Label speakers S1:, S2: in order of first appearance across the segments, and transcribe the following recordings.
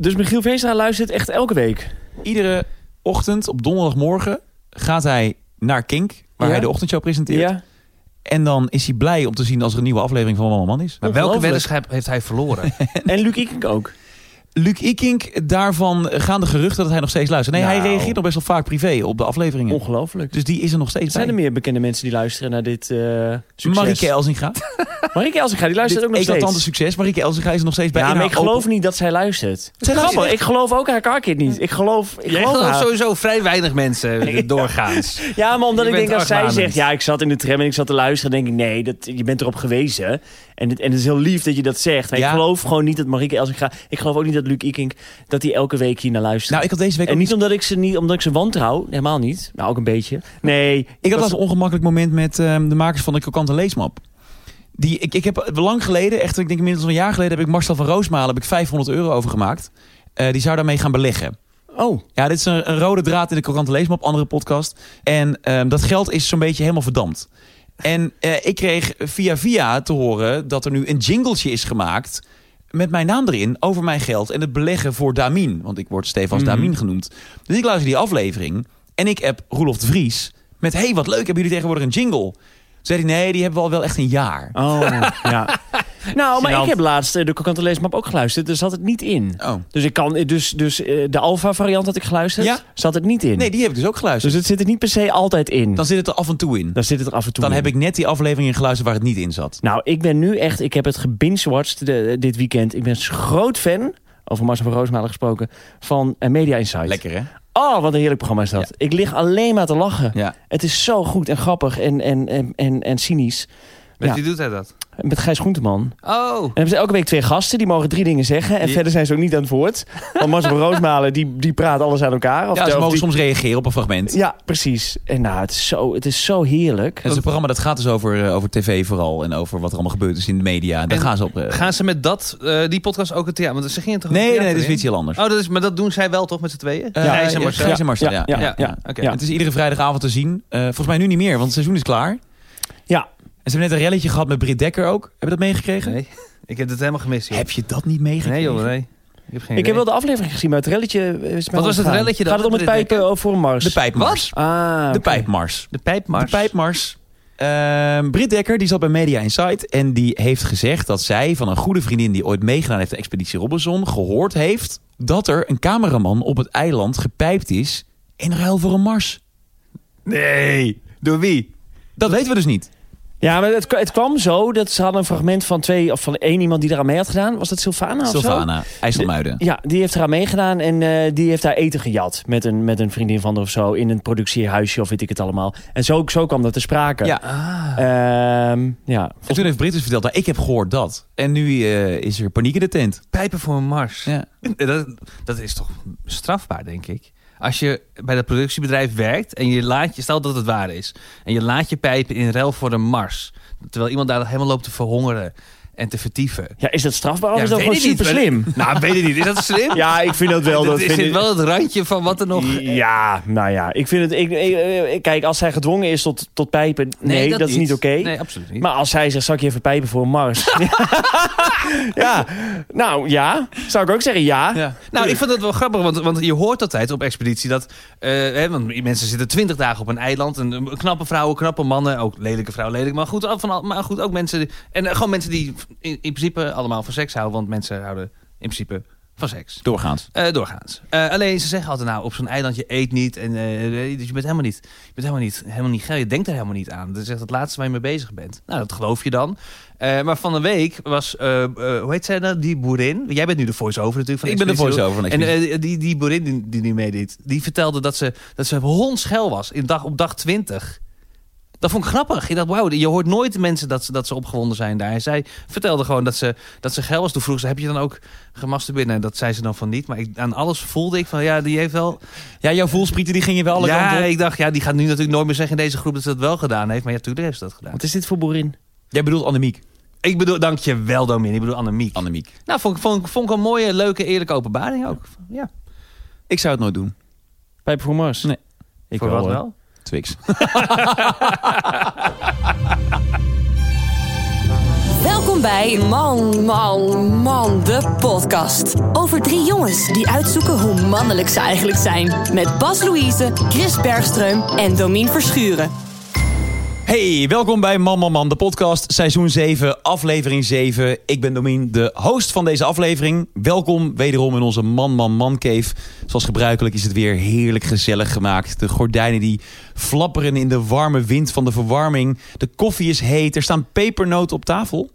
S1: Dus Michiel Veenstra luistert echt elke week.
S2: Iedere ochtend op donderdagmorgen gaat hij naar Kink, waar
S1: Ja.
S2: hij de ochtendshow presenteert.
S1: Ja.
S2: En dan is hij blij om te zien als er een nieuwe aflevering van Mama Man is.
S3: Maar welke
S1: Ongelooflijk.
S3: weddenschap heeft hij verloren?
S1: En Luc Ikink ook.
S2: Luc Ikink, daarvan gaan de geruchten dat hij nog steeds luistert. Nee, hij
S1: Nou.
S2: reageert nog best wel vaak privé op de afleveringen.
S1: Ongelooflijk.
S2: Dus die is er nog steeds
S1: Zijn er
S2: bij.
S1: meer bekende mensen die luisteren naar dit eh succes?
S2: Marieke Elzinga.
S1: Marieke Elsinga, die luistert
S2: Dit
S1: ook nog
S2: eclatante
S1: steeds.
S2: succes. Marieke Elzinga is er nog steeds bij.
S1: Ja,
S2: in
S1: maar
S2: haar
S1: ik geloof
S2: nou, open-
S1: niet dat zij luistert. Het is
S2: luistert
S1: grappig, ik geloof ook haar karkit niet. Ik geloof, ik
S3: Jij
S1: geloof
S3: gelooft
S1: haar.
S3: Oh, sowieso vrij weinig mensen eh, doorgaans.
S1: Ja, maar omdat
S3: Je
S1: ik denk
S3: bent
S1: als zij
S3: argwanend.
S1: zegt... Ja, ik zat in de tram en ik zat te luisteren. denk ik, nee, dat, je bent erop gewezen. En het, en het is heel lief dat je dat zegt. Maar
S2: Ja.
S1: Ik geloof gewoon niet dat Marieke Elsinga... Ik geloof ook niet dat Luc Ikink... dat hij elke week hier naar luistert.
S2: Nou, ik had deze week
S1: en
S2: ook
S1: niet omdat ik ze niet, omdat ik ze wantrouw, helemaal niet. Nou, ook een beetje. Nee,
S2: Ik had
S1: dat
S2: laatst een ongemakkelijk moment met ehm, de makers van de krokante leesmap. Die, ik, ik heb lang geleden, echt ik denk inmiddels een jaar geleden... heb ik Marcel van Roosmalen heb ik 500 euro overgemaakt. Eh, die zou daarmee gaan beleggen.
S1: Oh,
S2: Ja, dit is een, een rode draad in de krokante leesmap, andere podcast. En ehm, dat geld is zo'n beetje helemaal verdampt. En eh, ik kreeg via via te horen dat er nu een jingletje is gemaakt... met mijn naam erin over mijn geld en het beleggen voor Damien. Want ik word Stefans
S1: Mhm.
S2: Damien genoemd. Dus ik luister die aflevering en ik heb Roelof de Vries... met, hey, wat leuk, hebben jullie tegenwoordig een jingle? Toen zei hij, nee, die hebben we al wel echt een jaar.
S1: oh, ja. Nou, maar
S3: Gênant.
S1: ik heb laatst eh, de Kokante Leesmap ook geluisterd. Er zat het niet in.
S2: Oh.
S1: Dus, ik kan, dus, dus eh, de alfa-variant had ik geluisterd,
S2: Ja.
S1: zat het niet in.
S2: Nee, die heb ik dus ook
S1: Dus
S2: geluisterd.
S1: het zit er niet per se altijd in.
S2: Dan zit het er af en toe in.
S1: Dan zit het er af en toe
S2: Dan
S1: in.
S2: heb ik net die afleveringen geluisterd waar het niet in zat.
S1: Nou, ik ben nu echt... Ik heb het gebingewatcht de- dit weekend. Ik ben groot fan, over Marcel van Roosmalen gesproken... van eh, Media Insight.
S2: Lekker, hè?
S1: Oh, wat een heerlijk programma is dat. Ik lig alleen maar te lachen.
S2: Ja.
S1: Het is zo goed en grappig en, en, en, en, en cynisch.
S3: Met
S1: Ja.
S3: wie doet hij dat?
S1: Met Gijs Groenteman.
S3: Oh,
S1: En hebben ze elke week twee gasten, die mogen drie dingen zeggen. En
S3: Die-
S1: verder zijn ze ook niet aan het woord. Want Marcel van Roosmalen, die, die praat alles aan elkaar. Of
S2: Ja, ze
S1: of
S2: mogen
S1: die-
S2: soms reageren op een fragment.
S1: ja, precies. En nou, het is zo, het is zo heerlijk.
S2: Het is een programma dat gaat dus over, eh, over tv vooral. En over wat er allemaal gebeurd is in de media. En daar
S3: En
S2: gaan ze op. eh,
S3: gaan ze met dat, eh, die podcast ook het theater? Want ze gingen toch ook
S2: nee, nee,
S3: het
S2: nee,
S3: theater
S2: dat is
S3: in?
S2: iets heel anders.
S3: Oh, dat is, maar dat doen zij wel toch met z'n tweeën?
S2: Eh,
S3: Gijs en
S2: ja,
S3: Marcel.
S2: Gijs en Marcel, ja.
S1: ja, ja,
S3: Ja,
S1: ja.
S3: oké.
S1: ja.
S2: Het is iedere vrijdagavond te zien. eh, volgens mij nu niet meer, want het seizoen is klaar.
S1: Ja.
S2: En ze hebben net een relletje gehad met Britt Dekker ook. Heb je dat meegekregen?
S3: Nee, ik heb het helemaal gemist. Joh.
S2: Heb je dat niet meegekregen?
S3: Nee, joh, nee. Ik heb
S1: Ik
S3: geen idee.
S1: heb wel de aflevering gezien, maar het relletje is mij
S3: was het
S1: ontgaan.
S3: relletje dan?
S1: Gaat het om het
S3: Met de
S1: pijpen eh, voor een Mars?
S2: De pijpmars.
S1: Ah,
S2: De
S1: oké.
S2: pijpmars.
S3: de pijpmars.
S2: De pijpmars. Ehm Britt Dekker, die zat bij Media Insight. En die heeft gezegd dat zij van een goede vriendin... die ooit meegedaan heeft aan Expeditie Robinson... gehoord heeft dat er een cameraman op het eiland gepijpt is... in ruil voor een mars.
S3: Nee, door wie?
S2: Dat weten we dus niet.
S1: Ja, maar het, het kwam zo dat ze hadden een fragment van twee of van één iemand die eraan mee had gedaan. Was dat Sylvana Nou, of zo?
S2: Sylvana, IJsselmuiden.
S1: Ja, die heeft eraan meegedaan en eh, die heeft daar eten gejat. Met een, met een vriendin van haar of zo. In een productiehuisje of weet ik het allemaal. En zo, zo kwam dat te sprake.
S2: Ja. Ah,
S1: Ehm, ja.
S2: En toen heeft Britt dus verteld... Nou, ik heb gehoord dat. En nu eh, is er paniek in de tent.
S3: Pijpen voor een mars.
S2: Ja.
S3: Dat, dat is toch strafbaar, denk ik. Als je bij dat productiebedrijf werkt en je laat je, stel dat het waar is, en je laat je pijpen in ruil voor een mars, terwijl iemand daar helemaal loopt te verhongeren en te vertieven.
S1: ja, is dat strafbaar of
S3: Ja,
S1: is dat
S3: weet
S1: gewoon
S3: ik niet,
S1: super slim?
S3: Nou, weet ik niet. Is dat slim?
S1: Ja, ik vind dat wel.
S3: dat
S1: Dat
S3: is
S1: vind
S3: dit
S1: ik-
S3: wel het randje van wat er nog.
S1: Ja, nou ja. Ik vind het, ik, ik- eh, kijk, als zij gedwongen is tot, tot pijpen, nee, dat, is niet oké.
S3: Nee, absoluut niet.
S1: Maar als zij zegt, zal ik je even pijpen voor een Mars? ja, nou ja. Zou ik ook zeggen ja.
S2: Ja.
S3: Nou, ik vond dat wel grappig, want, want je hoort altijd op expeditie dat... eh, hè, want mensen zitten twintig dagen op een eiland. En, eh, knappe vrouwen, knappe mannen, ook lelijke vrouwen, lelijk. Maar goed, al- van, al- maar goed ook mensen... die- En eh, gewoon mensen die in, in principe allemaal van seks houden. Want mensen houden in principe van seks.
S2: Doorgaans.
S3: Eh, doorgaans. Eh, alleen ze zeggen altijd nou, op zo'n eiland je eet niet. En, eh, dus je bent helemaal niet, je bent helemaal niet, helemaal niet geil. Je denkt er helemaal niet aan. Dat is echt het laatste waar je mee bezig bent. Nou, dat geloof je dan. Eh, maar van de week was, eh, eh, hoe heet zij nou, die boerin? Jij bent nu de voice-over natuurlijk. Van
S2: Ik ben de
S3: Expeditie
S2: voice-over van
S3: en
S2: Expeditie.
S3: eh, die, die boerin die, die nu meedeed, die vertelde dat ze, dat ze hondschel was in dag, op dag 20. Dat vond ik grappig. Ik dacht, wauw, je hoort nooit mensen dat ze, dat ze opgewonden zijn daar. En zij vertelde gewoon dat ze, dat ze geil was. Toen vroeg ze, heb je dan ook gemasturbeerd? Nee, dat zei ze dan van niet. Maar ik, aan alles voelde ik van, ja, die heeft wel...
S2: Ja, jouw voelsprieten die gingen wel alle
S3: ja,
S2: kanten op.
S3: ik dacht, ja, die gaat nu natuurlijk nooit meer zeggen in deze groep dat ze dat wel gedaan heeft. Maar ja, natuurlijk heeft ze dat gedaan.
S1: Wat is dit voor boerin?
S2: Jij bedoelt Annemiek.
S3: Ik bedoel, dankjewel Dominique. Ik bedoel Annemiek.
S2: Annemiek.
S3: nou, vond, ik- vond, ik- vond ik een mooie, leuke, eerlijke openbaring ook. Ja,
S2: Ik zou het nooit doen.
S1: Pijpen voor Mars?
S2: Nee.
S1: Ik
S3: voor
S1: wel,
S3: wat
S1: hoor.
S3: wel.
S2: Twix.
S4: Welkom bij Man, Man, Man, de podcast. Over drie jongens die uitzoeken hoe mannelijk ze eigenlijk zijn. Met Bas Louise, Chris Bergström en Domien Verschuren.
S2: Hey, welkom bij Man Man Man, de podcast, seizoen 7, aflevering 7. Ik ben Domien, de host van deze aflevering. Welkom wederom in onze Man Man Man cave. Zoals gebruikelijk is het weer heerlijk gezellig gemaakt. De gordijnen die flapperen in de warme wind van de verwarming. De koffie is heet, er staan pepernoten op tafel.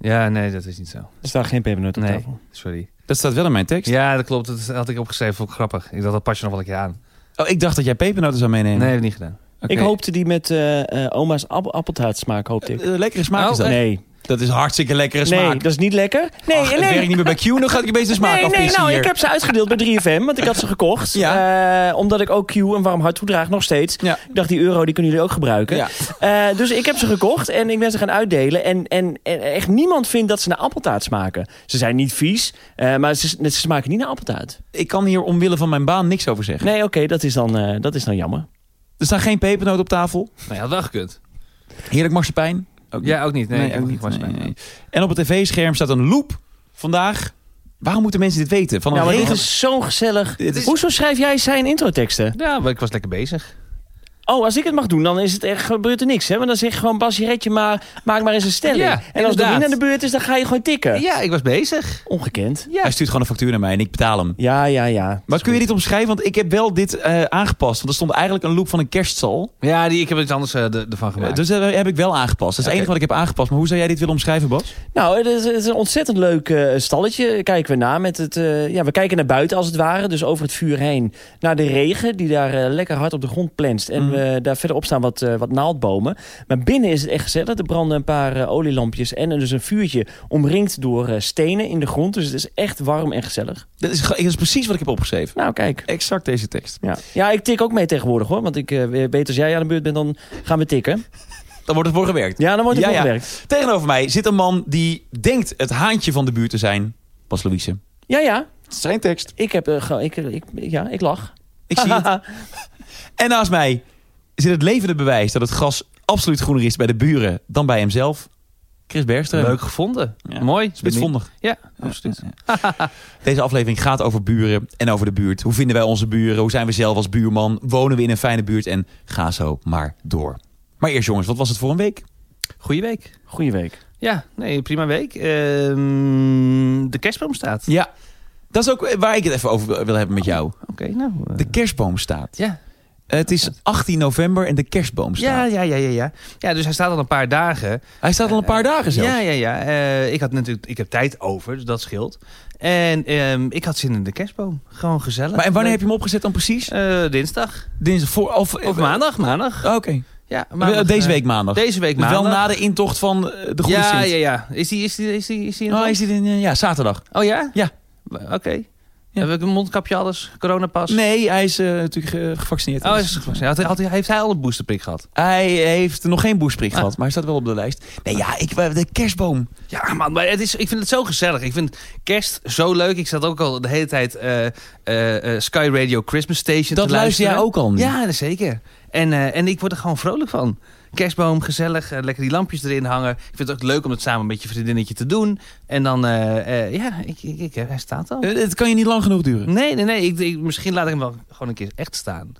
S3: Ja, nee, dat is niet zo.
S1: Er staat geen pepernoot op
S3: Nee,
S1: tafel.
S3: sorry.
S2: Dat staat wel in mijn tekst.
S3: Ja, dat klopt. Dat had ik opgeschreven. Vond ik grappig. Ik dacht, dat pas je nog wel een keer aan.
S2: Oh, ik dacht dat jij pepernoten zou meenemen.
S3: Nee, heb ik niet gedaan.
S2: Oké.
S1: Ik hoopte die met eh, eh, oma's app appeltaartsmaak, hoopte ik.
S2: Eh, Lekkere smaak is dat.
S1: Oh, nee.
S2: Dat is hartstikke lekkere
S1: nee,
S2: smaak.
S1: dat is niet lekker. Nee,
S2: Ach, het
S1: nee.
S2: werkt niet meer bij Q, dan ga ik opeens de smaak
S1: nee, nee,
S2: afpissen
S1: nou,
S2: hier.
S1: ik heb ze uitgedeeld bij 3FM, want ik had ze gekocht. Eh, omdat ik ook Q een warm hart toedraag, nog steeds.
S2: Ja.
S1: Ik dacht, die euro, die kunnen jullie ook gebruiken.
S2: Ja.
S1: Eh, dus ik heb ze gekocht en ik ben ze gaan uitdelen. En, en, en echt niemand vindt dat ze naar appeltaart smaken. Ze zijn niet vies, eh, maar ze, ze smaken niet naar appeltaart.
S2: Ik kan hier omwille van mijn baan niks over zeggen.
S1: Nee, oké, dat, is dan, eh, dat is dan jammer.
S2: Er staan geen pepernoten op tafel.
S3: Nou, je had wel gekund.
S2: Heerlijk marsepein. Ook
S3: Ja, ook niet. Nee, ik heb
S2: ook
S3: niet.
S2: niet.
S3: marsepein.
S2: Nee, nee. En op het tv-scherm staat een loop vandaag. Waarom moeten mensen dit weten? Van een
S1: Nou, maar dit
S2: regen...
S1: is zo'n gezellig...
S2: Dit is-
S1: Hoezo schrijf jij zijn introteksten?
S3: Ja, maar ik was lekker bezig.
S1: Oh, als ik het mag doen, dan is het echt, gebeurt er niks. Hè? Want dan zeg je gewoon, Bas, je red je maar, maak maar eens een stelling.
S3: Ja,
S1: en als
S3: inderdaad.
S1: Doreen aan de beurt is, dan ga je gewoon tikken.
S3: Ja, ik was bezig.
S1: Ongekend.
S3: Ja.
S2: Hij stuurt gewoon een factuur naar mij en ik betaal hem.
S1: Ja, ja, ja.
S2: Maar kun je dit omschrijven? Want ik heb wel dit eh, aangepast. Want er stond eigenlijk een loop van een kerststal.
S3: Ja, die, ik heb er iets anders eh, de- ervan
S2: Eh,
S3: gemaakt.
S2: dus dat heb ik wel aangepast. Dat is het
S3: Oké.
S2: enige wat ik heb aangepast. Maar hoe zou jij dit willen omschrijven, Bas?
S1: Nou, het is, het is een ontzettend leuk eh, stalletje. Kijken we na met het. eh, ja, we kijken naar buiten als het ware. Dus over het vuur heen. Naar de regen die daar eh, lekker hard op de grond plenst. En
S2: Mm.
S1: eh, daar verderop staan wat, eh, wat naaldbomen. Maar binnen is het echt gezellig. Er branden een paar eh, olielampjes. En er dus een vuurtje omringd door eh, stenen in de grond. Dus het is echt warm en gezellig.
S2: Dat is, ge- dat is precies wat ik heb opgeschreven.
S1: Nou, kijk.
S2: Exact deze tekst.
S1: Ja, ja ik tik ook mee tegenwoordig hoor. Want ik eh, weet als jij aan de beurt bent, dan gaan we tikken.
S2: Dan wordt het voor gewerkt.
S1: Ja, dan wordt het
S2: Ja, ja.
S1: opgewerkt.
S2: Tegenover mij zit een man die denkt het haantje van de buurt te zijn. Bas Louise.
S1: Ja, ja.
S2: Zijn tekst.
S1: Ik heb. eh, ge- ik, ik, ja, ik lach.
S2: Ik zie het. En naast mij zit het levende bewijs dat het gras absoluut groener is bij de buren dan bij hemzelf. Chris Bergström.
S3: Leuk gevonden.
S2: dus, eh, Ja.
S3: Mooi.
S2: Spitsvondig.
S3: Ja, absoluut.
S2: Deze aflevering gaat over buren en over de buurt. Hoe vinden wij onze buren? Hoe zijn we zelf als buurman? Wonen we in een fijne buurt? En ga zo maar door. Maar eerst jongens, wat was het voor een week?
S3: Goeie week.
S1: Goeie week.
S3: Ja, nee, prima week. Ehm, de kerstboom staat.
S2: Ja. Dat is ook waar ik het even over wil- wil hebben met jou.
S3: Oké, nou. eh,
S2: De kerstboom staat.
S3: ja.
S2: Het is 18 november en de kerstboom
S3: Ja,
S2: staat.
S3: ja, ja, ja, ja. Ja, dus hij staat al een paar dagen.
S2: Hij staat al een paar dagen zelfs.
S3: Ja, ja, ja. Eh, ik had natuurlijk, ik heb tijd over, dus dat scheelt. En ehm, ik had zin in de kerstboom. Gewoon gezellig.
S2: Maar en wanneer heb je hem opgezet dan precies?
S3: Eh, dinsdag.
S2: Dinsdag voor, of,
S3: Of maandag, maandag.
S2: Oké.
S3: Ja,
S2: Eh,
S3: maandag,
S2: Deze
S3: eh,
S2: week maandag.
S3: Deze week
S2: Dus
S3: maandag.
S2: wel na de intocht van eh, de goede
S3: ja,
S2: Sint.
S3: ja, ja. Is die, is die, is die, is die in
S2: Oh,
S3: Holland?
S2: is dit in, eh, ja, zaterdag.
S3: Oh ja?
S2: Ja.
S3: W- Oké. Heb ik een mondkapje, alles? Coronapas?
S2: Nee, hij is eh, natuurlijk eh, gevaccineerd.
S3: Oh, is het gevaccineerd? Had, had- heeft hij al een boosterprik gehad?
S2: Hij heeft nog geen boostprik
S3: Ah.
S2: gehad, maar hij staat wel op de lijst. Nee, ja, ik, eh, de kerstboom.
S3: Ja, man, maar het is, ik vind het zo gezellig. Ik vind kerst zo leuk. Ik zat ook al de hele tijd eh, eh, eh, Sky Radio Christmas Station
S2: Dat
S3: te
S2: luister
S3: luisteren.
S2: jij ook al nu?
S3: Ja, dat zeker. En, eh, en ik word er gewoon vrolijk van. Kerstboom, gezellig, eh, lekker die lampjes erin hangen. Ik vind het ook leuk om het samen met je vriendinnetje te doen. En dan, eh, eh, ja, ik, ik, ik- hij staat al.
S2: Eh, Het kan je niet lang genoeg duren.
S3: Nee, nee, nee. Ik, ik- misschien laat ik hem wel gewoon een keer echt staan.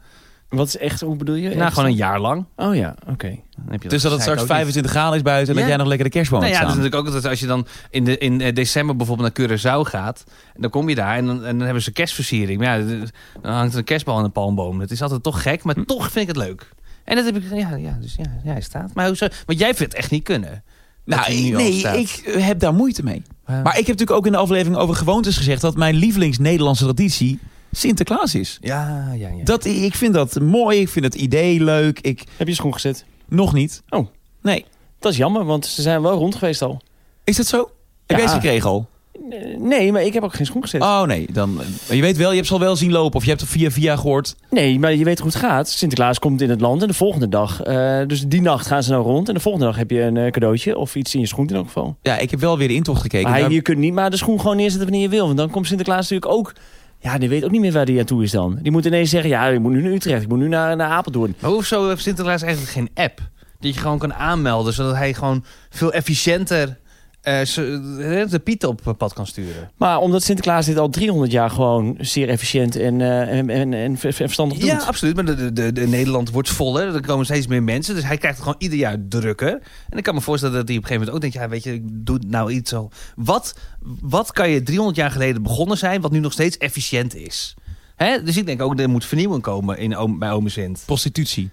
S1: Wat is echt, hoe bedoel je?
S3: Nou, gewoon een jaar lang.
S1: Oh ja, oké.
S3: Dan heb je
S2: Dus dat het
S3: gezeik
S2: straks
S3: ook niet.
S2: 25 graden is buiten en dat
S3: Ja.
S2: jij nog lekker de kerstboom
S3: Nou ja,
S2: hebt
S3: dat is
S2: staan.
S3: natuurlijk ook altijd als je dan in, de, in eh, december bijvoorbeeld naar Curaçao gaat. Dan kom je daar en dan, en dan hebben ze kerstversiering. Maar ja, d- dan hangt er een kerstbal aan een palmboom. Dat is altijd toch gek, maar
S2: Hm.
S3: toch vind ik het leuk. En dat heb ik, ja, ja, dus ja, ja hij staat. Maar hoezo? Want jij vindt het echt niet kunnen. dat hij
S2: nou,
S3: nu al
S2: nee,
S3: staat.
S2: ik eh, heb daar moeite mee.
S3: Ja.
S2: Maar ik heb natuurlijk ook in de aflevering over gewoontes gezegd... dat mijn lievelings-Nederlandse traditie Sinterklaas is.
S3: Ja, ja, ja.
S2: Dat, ik vind dat mooi, ik vind het idee leuk. Ik,
S1: Heb je schoen gezet?
S2: nog niet.
S1: Oh.
S2: Nee.
S1: Dat is jammer, want ze zijn wel rond geweest al.
S2: Is dat zo?
S1: Ja.
S2: Heb jij ze gekregen al?
S1: Eh, Nee, maar ik heb ook geen schoen gezet.
S2: Oh nee, dan, maar je weet wel, je hebt ze al wel zien lopen. Of je hebt het via via gehoord.
S1: Nee, maar je weet hoe het gaat. Sinterklaas komt in het land en de volgende dag. eh, dus die nacht gaan ze nou rond. En de volgende dag heb je een eh, cadeautje of iets in je schoen in elk geval.
S2: Ja, ik heb wel weer de intocht gekeken.
S1: maar hij-
S2: Daar-
S1: je kunt niet maar de schoen gewoon neerzetten wanneer je wil. Want dan komt Sinterklaas natuurlijk ook... Ja, die weet ook niet meer waar die aan toe is dan. Die moet ineens zeggen, ja, ik moet nu naar Utrecht. Ik moet nu naar, naar Apeldoorn.
S3: Maar hoezo heeft Sinterklaas eigenlijk geen app? Dat je gewoon kan aanmelden, zodat hij gewoon veel efficiënter eh, ze- de Piet op pad kan sturen.
S1: Maar omdat Sinterklaas dit al 300 jaar gewoon zeer efficiënt en, eh, en, en, en ver- ver- verstandig doet.
S3: Ja, absoluut. Maar de, de, de, de Nederland wordt voller. Er komen steeds meer mensen. Dus hij krijgt het gewoon ieder jaar drukker. En ik kan me voorstellen dat hij op een gegeven moment ook denkt... ja, weet je, ik doe nou iets zo. Wat, wat kan je 300 jaar geleden begonnen zijn... wat nu nog steeds efficiënt is? Hè? Dus ik denk ook, er moet vernieuwing komen in, oom- bij Ome Sint.
S2: Prostitutie.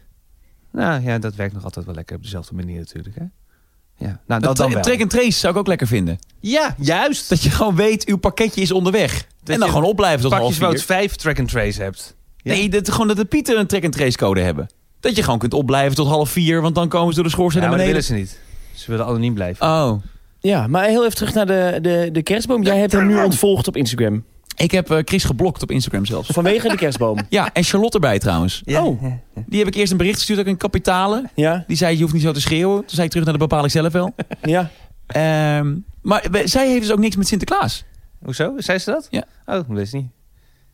S3: Nou ja, dat werkt nog altijd wel lekker op dezelfde manier natuurlijk. Hè? Ja, nou,
S2: Dat
S3: dat dan wel.
S2: Track and trace zou ik ook lekker vinden.
S3: Ja, juist.
S2: Dat je gewoon weet, uw pakketje is onderweg. en dan
S3: je
S2: gewoon opblijven tot half
S3: Pakjes
S2: vier.
S3: Wout 5 track and trace hebt. Ja.
S2: Nee, dat, gewoon dat de Pieten een track and trace code hebben. Dat je gewoon kunt opblijven tot half vier, want dan komen ze door de schoorsteen
S3: Ja, maar
S2: naar
S3: dat willen
S2: beneden.
S3: ze niet. Ze willen anoniem blijven.
S2: Oh,
S1: Ja, maar heel even terug naar de, de, de kerstboom. Jij hebt hem nu ontvolgd op Instagram.
S2: ik heb eh, Chris geblokt op Instagram zelfs.
S1: Vanwege de kerstboom.
S2: Ja, en Charlotte erbij trouwens.
S3: Ja.
S1: Oh,
S2: Die heb ik eerst een bericht gestuurd, ook in kapitalen.
S1: ja,
S2: Die zei, je hoeft niet zo te schreeuwen. Toen zei ik terug naar de bepaal ik zelf wel.
S1: ja.
S2: Ehm, maar we- zij heeft dus ook niks met Sinterklaas.
S3: Hoezo? Zei ze dat?
S2: Ja.
S3: Oh, dat wist ik niet.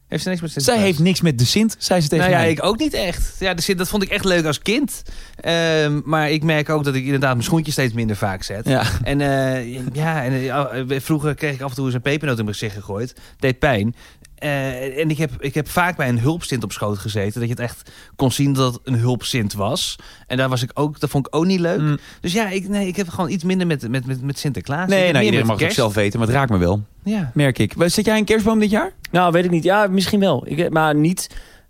S3: Heeft ze niks met
S2: Zij
S3: Sinterklaas?
S2: heeft niks met de Sint, zei ze tegen
S3: Nou ja,
S2: mij.
S3: ik ook niet echt. Ja, dus dat vond ik echt leuk als kind. Ehm, maar ik merk ook dat ik inderdaad mijn schoentje steeds minder vaak zet.
S2: Ja.
S3: En eh, ja, en, eh, vroeger kreeg ik af en toe eens een pepernoot in mijn gezicht gegooid. Deed pijn. Eh, en ik heb, ik heb vaak bij een hulpsint op schoot gezeten. Dat je het echt kon zien dat het een hulpsint was. En daar was ik ook, dat vond ik ook niet leuk.
S2: Mm.
S3: Dus ja, ik, nee, ik heb gewoon iets minder met, met, met, met Sinterklaas. Ik
S2: Nee,
S3: heb
S2: nou,
S3: meer
S2: iedereen mag
S3: met
S2: het zelf weten, maar het raakt me wel.
S3: kerst. Ja.
S2: Merk ik. Zet jij een kerstboom dit jaar?
S1: Nou, weet ik niet. Ja, misschien wel. Ik, maar niet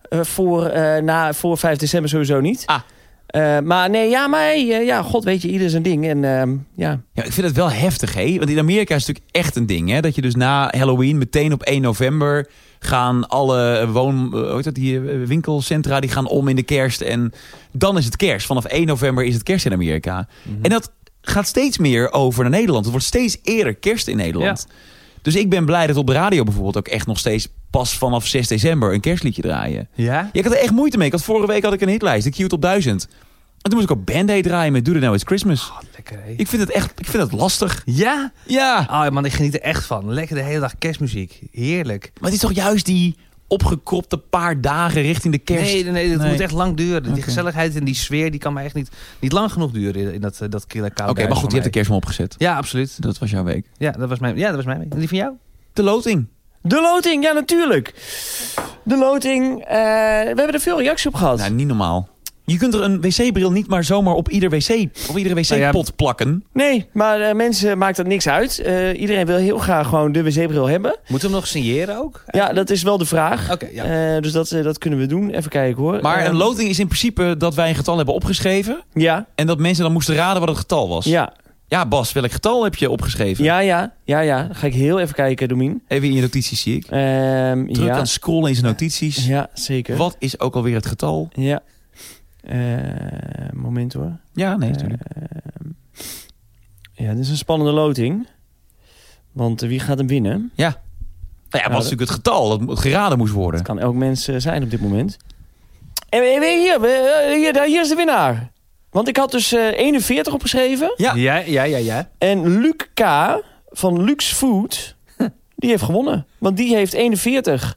S1: eh, voor, eh, na, voor 5 december sowieso niet.
S2: Ah.
S1: Eh, maar nee, ja, maar hey, eh, ja, god weet je, ieder zijn ding. En ehm, ja,
S2: Ja, ik vind het wel heftig, hè? Want in Amerika is het natuurlijk echt een ding, hè? Dat je dus na Halloween, meteen op 1 november, gaan alle woon, eh, hoe heet dat, die eh, winkelcentra die gaan om in de kerst. En dan is het kerst. Vanaf 1 november is het kerst in Amerika. En dat gaat steeds meer over naar Nederland. Het wordt steeds eerder kerst in Nederland. Dus ik ben blij dat op de radio bijvoorbeeld ook echt nog steeds pas vanaf 6 december een kerstliedje draaien.
S3: Ja?
S2: Ja, ik had er echt moeite mee. Ik had, vorige week had ik een hitlijst, de Q-top 1000. En toen moest ik ook Band-Aid draaien met Do It Now It's Christmas.
S3: Oh, lekker, hè?
S2: Ik vind het echt ik vind het lastig.
S3: Ja?
S2: Ja,
S3: Ah man, ik geniet er echt van. Lekker de hele dag kerstmuziek. Heerlijk.
S2: maar het is toch juist die opgekropte paar dagen richting de kerst.
S3: Nee, nee, nee, dat
S2: Nee.
S3: moet echt lang duren. Die
S2: Oké.
S3: gezelligheid en die sfeer, die kan me echt niet, niet lang genoeg duren in, in dat, eh, dat kille
S2: Oké,
S3: koude
S2: maar
S3: huis
S2: goed, je hebt de
S3: van mij.
S2: kerstboom opgezet.
S3: Ja, absoluut.
S2: Dat was jouw week.
S3: Ja, dat was mijn, ja, dat was mijn week. En die van jou?
S2: De loting.
S1: De loting, ja natuurlijk. De loting, eh, we hebben er veel reacties op gehad.
S2: Nou, niet normaal. Je kunt er een wc-bril niet maar zomaar op ieder wc, op iedere
S3: Nou ja,
S2: wc-pot plakken.
S1: Nee, maar eh, mensen maakt dat niks uit. Eh, iedereen wil heel graag gewoon de wc-bril hebben.
S3: Moeten we hem nog signeren ook?
S1: Ja, dat is wel de vraag.
S3: Oké, ja.
S1: Eh, dus dat, eh, dat kunnen we doen. Even kijken hoor.
S2: Maar
S1: Eh,
S2: een loting is in principe dat wij een getal hebben opgeschreven
S1: Ja,
S2: en dat mensen dan moesten raden wat het getal was.
S1: ja,
S2: Ja, Bas, welk getal heb je opgeschreven?
S1: ja, ja, ja, ja. Dan Ga ik heel even kijken, Domien.
S2: Even in je notities zie ik.
S1: Ehm,
S2: Druk
S1: ja.
S2: aan scrollen in zijn notities.
S1: ja, zeker.
S2: Wat is ook alweer het getal?
S1: Ja. Eh, moment hoor.
S2: Ja, nee, natuurlijk.
S1: Ehm, ja, dit is een spannende loting. Want eh, wie gaat hem winnen?
S2: Nou ja, wat is natuurlijk het getal dat geraden moest worden?
S1: Het kan elk mens eh, zijn op dit moment. En eh, hier, eh, hier, daar- hier is de winnaar. Want ik had dus eh, 41 opgeschreven.
S2: Ja.
S3: ja, ja, ja. ja.
S1: En Luc K. van Lux Food, die heeft gewonnen. Want die heeft 41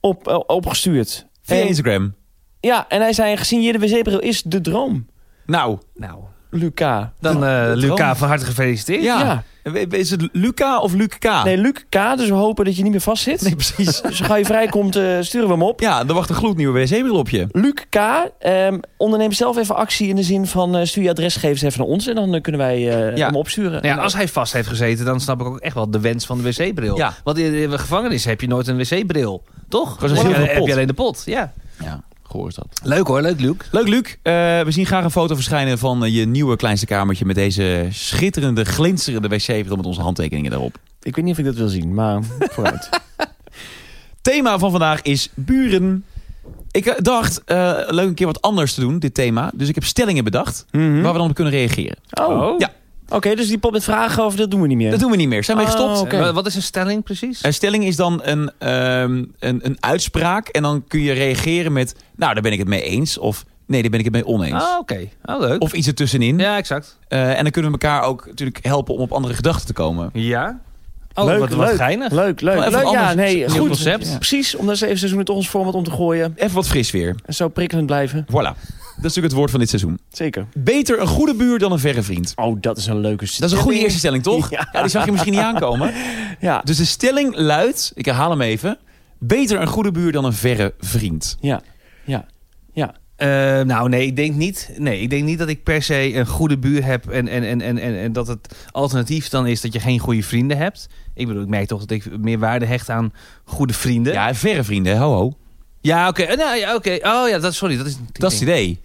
S1: op, eh, opgestuurd.
S2: Via
S1: En-
S2: Instagram.
S1: Ja, en hij zei, gesigneerde wc-bril is de droom,
S2: Nou,
S3: Nou,
S1: Luc K.
S3: dan eh
S2: Nou, dat
S3: Luca
S2: kan.
S3: van harte gefeliciteerd.
S2: ja. Is het Luca of Luc K?
S1: Nee, Luc K. Dus we hopen dat je niet meer vastzit.
S2: Ah. Nee, precies.
S1: Dus ga je vrijkomt, eh, sturen we hem op.
S2: Ja, er wacht een gloednieuwe wc-bril op je.
S1: Luc K. ehm, onderneem zelf even actie in de zin van eh, stuur je adresgegevens even naar ons en dan eh, kunnen wij eh,
S2: Ja.
S1: hem opsturen.
S3: Nou ja, als hij vast heeft gezeten, dan snap ik ook echt wel de wens van de wc-bril.
S2: Ja.
S3: Want in de gevangenis heb je nooit een wc-bril, toch?
S2: Gewoon zo'n
S3: Dan heb je-
S2: zilveren
S3: heb
S2: pot.
S3: je alleen de pot, ja.
S2: Ja, gehoor is dat.
S3: Leuk hoor, leuk Luc.
S2: Leuk, Luc. Eh, we zien graag een foto verschijnen van eh, je nieuwe kleinste kamertje... met deze schitterende, glinsterende wc-bril met onze handtekeningen daarop.
S1: Ik weet niet of ik dat wil zien, maar vooruit.
S2: Thema van vandaag is buren. Ik eh, dacht, eh, leuk een keer wat anders te doen, dit thema. Dus ik heb stellingen bedacht
S1: Mhm.
S2: waar we dan op kunnen reageren.
S1: Oh,
S3: Oh.
S2: Ja,
S1: oké, dus die pop met vragen over dat doen we niet meer.
S2: dat doen we niet meer. Zijn we
S1: Oh,
S2: gestopt?
S1: oké.
S3: Eh, Wat- Wat is een stelling precies?
S2: Een stelling is dan een, ehm, een, een uitspraak. En dan kun je reageren met... Nou, daar ben ik het mee eens. Of nee, daar ben ik het mee oneens.
S3: Ah, oké. Oh, leuk.
S2: Of iets ertussenin.
S3: Ja, exact.
S2: Eh, en dan kunnen we elkaar ook natuurlijk helpen om op andere gedachten te komen.
S3: Ja. Oh,
S1: leuk,
S3: wat, wat
S1: leuk,
S3: geinig.
S1: leuk, leuk.
S2: Wel even
S1: leuk
S2: een
S1: ja,
S2: ander
S1: nee,
S2: nieuw
S1: goed.
S2: concept.
S1: Precies, om dat eens even seizoen met ons format om te gooien.
S2: Even wat fris weer.
S1: En zo prikkelend blijven.
S2: Voilà. natuurlijk het woord van dit seizoen.
S1: Zeker.
S2: Beter een goede buur dan een verre vriend.
S1: Oh, dat is een leuke
S2: Dat is een goede eerste stelling, toch? Ja. die zag je misschien niet aankomen.
S1: Ja.
S2: Dus de stelling luidt, ik herhaal hem even. Beter een goede buur dan een verre vriend.
S1: Ja. Ja. Ja.
S3: Eh, nou, nee ik, denk niet, nee, ik denk niet dat ik per se een goede buur heb. En, en, en, en, en, en dat het alternatief dan is dat je geen goede vrienden hebt. Ik bedoel, ik merk toch dat ik meer waarde hecht aan goede vrienden.
S2: Ja, verre vrienden, hè? ho ho.
S3: Ja, oké. Eh, Nou, ja, oké. Oh ja, dat, sorry. Dat is,
S2: Dat is het idee.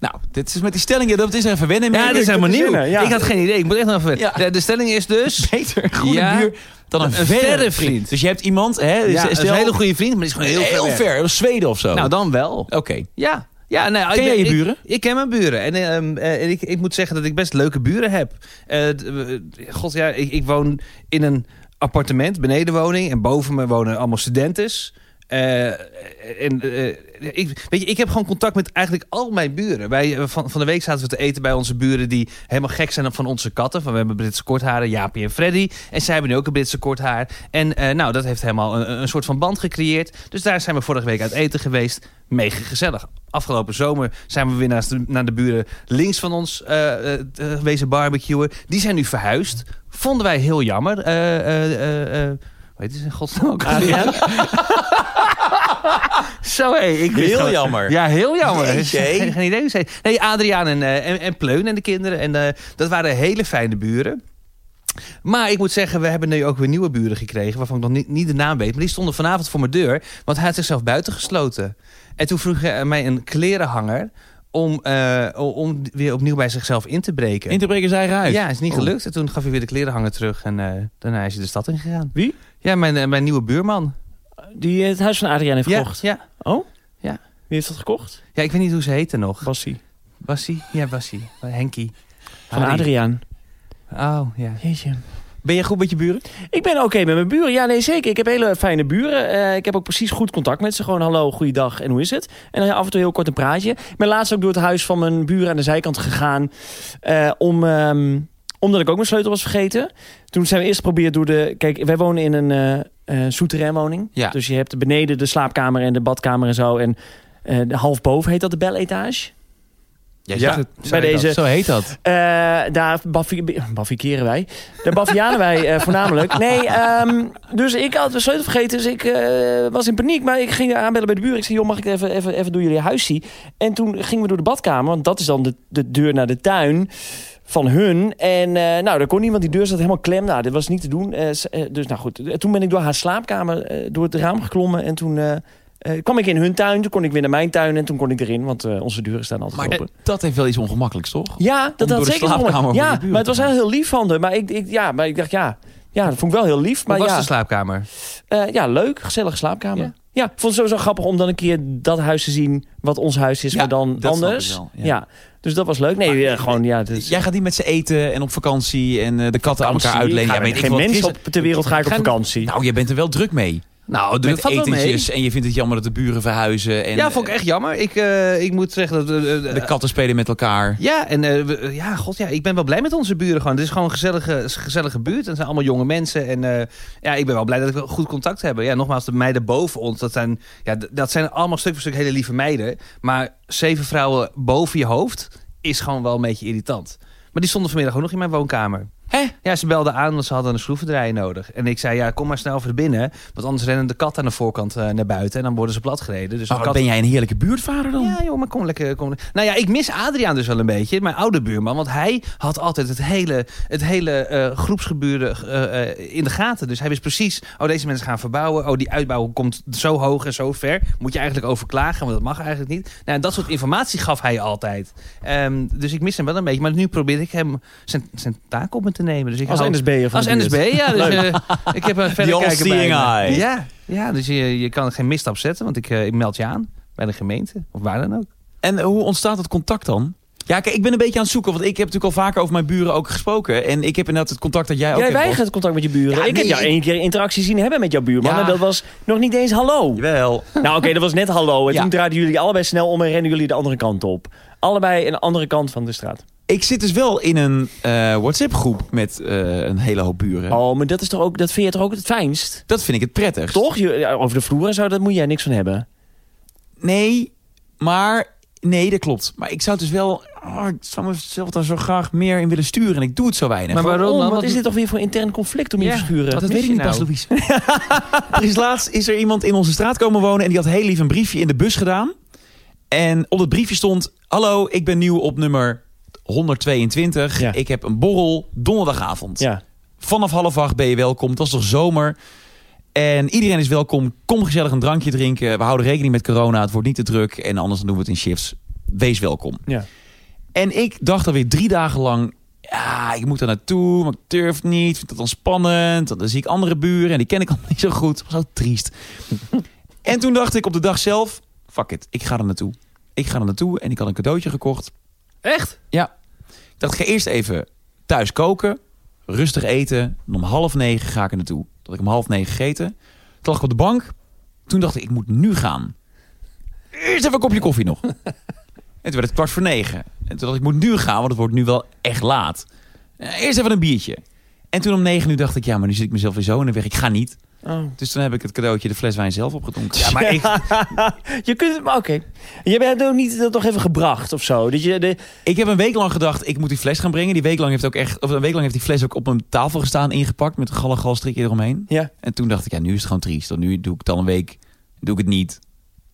S2: Nou, dit is met die stellingen, dat is er even wennen.
S3: Ja,
S2: mee.
S3: dat is helemaal
S1: te
S3: nieuw.
S1: verzinnen, ja.
S3: Ik had geen idee. Ik moet echt nog even...
S2: Ja.
S3: De, de stelling is dus...
S2: Beter een goede
S3: Ja.
S2: buur dan een,
S3: Een
S2: verre,
S3: verre
S2: vriend.
S3: vriend.
S2: Dus je hebt iemand, hè?
S3: Ja,
S2: stel-
S3: dat is een hele goede vriend, maar die is gewoon heel,
S2: heel
S3: ver. weg.
S2: ver, Zweden of zo.
S3: Nou, dan wel.
S2: Oké.
S3: Ja. ja nou,
S2: Ken
S3: ik ben-
S2: jij je
S3: ik-
S2: buren?
S3: Ik, ken mijn buren. En, eh, ehm, eh, en ik, ik moet zeggen dat ik best leuke buren heb. Eh, d- eh, God, ja, ik, ik woon in een appartement, benedenwoning. En boven me wonen allemaal studentes. Eh, en, eh, ik, weet je, ik heb gewoon contact met eigenlijk al mijn buren. Wij, eh, van, van de week zaten we te eten bij onze buren die helemaal gek zijn op van onze katten. Van, we hebben Britse kortharen, Jaapie en Freddy. En zij hebben nu ook een Britse korthaar. En eh, nou, dat heeft helemaal een, een soort van band gecreëerd. Dus daar zijn we vorige week uit eten geweest. Mega gezellig. Afgelopen zomer zijn we weer naast de- naar de buren links van ons eh, eh, gewezen barbecuen. Die zijn nu verhuisd. Vonden wij heel jammer. Eh eh eh, eh, hoe heet het in godsnaam ook
S2: Ah,
S3: alweer? Zo, hé. ik wist
S2: Heel
S3: gewoon-
S2: jammer.
S3: Ja, heel jammer.
S2: Jeetje, hé.
S3: Geen, geen idee hoe ze Nee, Adriaan en, eh, en, en Pleun en de kinderen. En eh, dat waren hele fijne buren. Maar ik moet zeggen, we hebben nu ook weer nieuwe buren gekregen... waarvan ik nog niet, niet de naam weet. Maar die stonden vanavond voor mijn deur, want hij had zichzelf buitengesloten. En toen vroeg hij mij een klerenhanger... om, eh, o- om weer opnieuw bij zichzelf in te breken.
S2: In te breken zijn eruit.
S3: ja, is niet
S2: Oh.
S3: gelukt. En toen gaf hij weer de klerenhanger terug. En eh, daarna is hij de stad ingegaan.
S1: Wie?
S3: Ja, mijn, eh, mijn nieuwe buurman.
S1: Die eh, het huis van Adriaan heeft
S3: Ja,
S1: gekocht.
S3: ja.
S1: Oh?
S3: Ja.
S1: Wie heeft dat gekocht?
S3: ja, ik weet niet hoe ze heten nog.
S1: Bassie.
S3: Bassie? Ja, Bassie. Henkie.
S1: Van
S3: Harry.
S1: Adriaan.
S3: Oh, ja.
S1: Jeetje.
S2: Ben jij goed met je buren?
S1: Ik ben oké met mijn buren. Ja, nee, zeker. Ik heb hele fijne buren. Eh, ik heb ook precies goed contact met ze. Gewoon hallo, goeiedag en hoe is het? En dan af en toe heel kort een praatje. Ik ben laatst ook door het huis van mijn buren aan de zijkant gegaan. eh, om, ehm, omdat ik ook mijn sleutel was vergeten. Toen zijn we eerst geprobeerd door de... Kijk, wij wonen in een eh eh souterrainwoning.
S2: Ja.
S1: Dus je hebt beneden de slaapkamer en de badkamer en zo. En eh, half boven heet dat de beletage.
S2: Jij
S3: Ja,
S2: zegt het.
S1: Bij deze
S2: Zo heet dat.
S1: eh, daar baffi- baffikeren wij. Daar baffianen wij eh, voornamelijk. Nee, ehm, dus ik had de sleutel vergeten. Dus ik eh, was in paniek. Maar ik ging aanbellen bij de buur. Ik zei, joh, mag ik even, even, even door jullie huis zien? En toen gingen we door de badkamer. Want dat is dan de, de deur naar de tuin van hun. En eh, nou, daar kon niemand. Die deur zat helemaal klem. Nou, dit was niet te doen. Eh, s- eh, dus nou goed. Toen ben ik door haar slaapkamer, eh, door het raam geklommen. En toen... eh, eh, kwam ik in hun tuin, toen kon ik weer naar mijn tuin en toen kon ik erin, want eh, onze deuren staan altijd
S2: Maar
S1: open.
S2: eh, dat heeft wel iets ongemakkelijks, toch?
S1: Ja, dat
S2: door
S1: had
S2: de
S1: zeker
S2: slaapkamer
S1: gevonden.
S2: van
S1: Ja,
S2: de buren
S1: maar het was
S2: te
S1: wel heel lief van haar. Maar ik, ik, ja, maar ik dacht, ja, ja, dat vond ik wel heel lief. Maar
S3: Hoe was
S1: ja,
S3: de slaapkamer?
S1: eh, ja, leuk, gezellige slaapkamer.
S3: Ja.
S1: Ja. ik vond het sowieso grappig om dan een keer dat huis te zien... wat ons huis is,
S2: Ja,
S1: maar dan
S2: dat snap ik
S1: anders.
S2: wel, ja.
S1: ja. dus dat was leuk. Nee,
S2: Maar-
S1: ja, gewoon, ja, dus,
S2: eh, Jij gaat niet met ze eten en op vakantie en eh, de katten aan elkaar uitlenen. Ja,
S1: Ja,
S2: weet ik
S1: geen
S2: wat,
S1: mens
S2: Chris-
S1: op ter wereld ga ik op
S3: Gaan-
S1: vakantie.
S2: Nou, jij bent er wel druk mee.
S3: Nou,
S2: Met etentjes en je vindt het jammer dat de buren verhuizen. En,
S3: Ja, vond ik echt jammer. Ik, eh, ik moet zeggen dat... eh, eh,
S2: eh, De katten spelen met elkaar.
S3: ja, en eh, we- eh, ja, god, ja, ik ben wel blij met onze buren gewoon. Het is gewoon een gezellige, is een gezellige buurt. En het zijn allemaal jonge mensen. En eh, ja, ik ben wel blij dat ik wel goed contact heb. Ja, nogmaals, de meiden boven ons, dat zijn, ja, d- dat zijn allemaal stuk voor stuk hele lieve meiden. Maar zeven vrouwen boven je hoofd is gewoon wel een beetje irritant. Maar die stonden vanmiddag ook nog in mijn woonkamer.
S2: Hè?
S3: Ja, ze belden aan, want ze hadden een schroevendraaier nodig. En ik zei, ja, kom maar snel voor binnen. Want anders rennen de kat aan de voorkant eh, naar buiten. En dan worden ze platgereden. Dus
S2: Maar
S3: de
S2: wat Oh,
S3: kat
S2: ben jij een heerlijke buurtvader dan?
S3: ja, joh, maar kom lekker. Kom. lekker. Nou ja, ik mis Adriaan dus wel een beetje, mijn oude buurman. Want hij had altijd het hele, het hele eh, groepsgeburen eh, eh, in de gaten. Dus hij wist precies, oh, deze mensen gaan verbouwen. Oh, die uitbouw komt zo hoog en zo ver. Moet je eigenlijk over klagen, want dat mag eigenlijk niet. Nou, en dat soort informatie gaf hij altijd. Ehm, dus ik mis hem wel een beetje. Maar nu probeer ik hem zijn, zijn taak op me te nemen. Dus ik
S1: als
S3: hou-
S1: NSB'er van
S3: Als
S1: de buurt.
S3: NSB, ja. Dus, eh, ik heb een verder
S2: all
S3: kijken bij
S2: seeing
S3: me.
S2: eye.
S3: Ja, ja, dus je, je kan geen misstap zetten, want ik, eh, ik meld je aan bij de gemeente of waar dan ook.
S2: En eh, hoe ontstaat dat contact dan? Ja, kijk, ik ben een beetje aan het zoeken. Want ik heb natuurlijk al vaker over mijn buren ook gesproken. En ik heb inderdaad het contact dat jij ook
S1: Jij
S2: hebt.
S1: weigert contact met je buren.
S2: Ja,
S1: ik heb
S2: nee,
S1: jou
S2: ik-
S1: één keer interactie zien hebben met jouw buurman.
S2: Ja.
S1: En dat was nog niet eens hallo.
S2: Wel.
S1: Nou oké, dat was net hallo. En
S2: Ja.
S1: toen draaiden jullie allebei snel om en rennen jullie de andere kant op. Allebei een andere kant van de straat.
S2: Ik zit dus wel in een eh, WhatsApp-groep met eh, een hele hoop buren.
S1: Oh, maar dat, is toch ook, dat vind je toch ook het fijnst?
S2: Dat vind ik het prettig.
S1: Toch? Je- ja, Over de vloer en zo, daar moet jij niks van hebben.
S2: Nee, maar Nee, dat klopt. Maar ik zou het dus wel... ah, ik zou mezelf daar zo graag meer in willen sturen. En ik doe het zo weinig.
S3: Maar
S2: Maar,
S3: waarom
S1: Oh,
S3: dan?
S1: wat
S3: Wat
S1: is dit toch weer voor intern conflict om je
S3: Ja,
S1: te schuren?
S3: wat
S2: dat
S3: mis
S2: weet ik
S3: je
S2: niet,
S3: nou?
S2: Bas Louise. er is laatst is er iemand in onze straat komen wonen... en die had heel lief een briefje in de bus gedaan. En op dat briefje stond... Hallo, ik ben nieuw op nummer 122.
S1: Ja.
S2: Ik heb een borrel donderdagavond.
S1: Ja.
S2: Vanaf half acht ben je welkom. Het was toch zomer. En iedereen is welkom. Kom gezellig een drankje drinken. We houden rekening met corona. Het wordt niet te druk. En anders dan doen we het in shifts. Wees welkom.
S1: Ja.
S2: En ik dacht alweer drie dagen lang... Ja, ik moet daar naartoe, maar ik durf niet. Vind dat dan spannend. Dan zie ik andere buren en die ken ik al niet zo goed. was ook triest. en toen dacht ik op de dag zelf... Fuck it, ik ga er naartoe. Ik ga er naartoe en ik had een cadeautje gekocht.
S3: Echt?
S2: Ik dacht, ik ga eerst even thuis koken. Rustig eten. En om half negen ga ik er naartoe. Dat ik om half negen gegeten. Toen lag ik op de bank. Toen dacht ik, ik moet nu gaan. Eerst even een kopje koffie nog. en toen werd het kwart voor negen. En toen dacht ik, ik moet nu gaan, want het wordt nu wel echt laat. Eh, Eerst even een biertje. En toen om negen uur dacht ik, ja, maar nu zit ik mezelf weer zo in de weg. Ik ga niet.
S1: Oh.
S2: Dus toen heb ik het cadeautje, de fles wijn zelf opgedronken. Ja, maar
S1: ik... je kunt het, maar oké. Je hebt het ook niet dat toch even gebracht of zo. Dat je de,
S2: Ik heb een week lang gedacht, ik moet die fles gaan brengen. Die week lang heeft, ook echt, of een week lang heeft die fles ook op mijn tafel gestaan, ingepakt met een galgalstrikje eromheen.
S1: ja.
S2: En toen dacht ik, ja, nu is het gewoon triest. Want nu doe ik het al een week, doe ik het niet.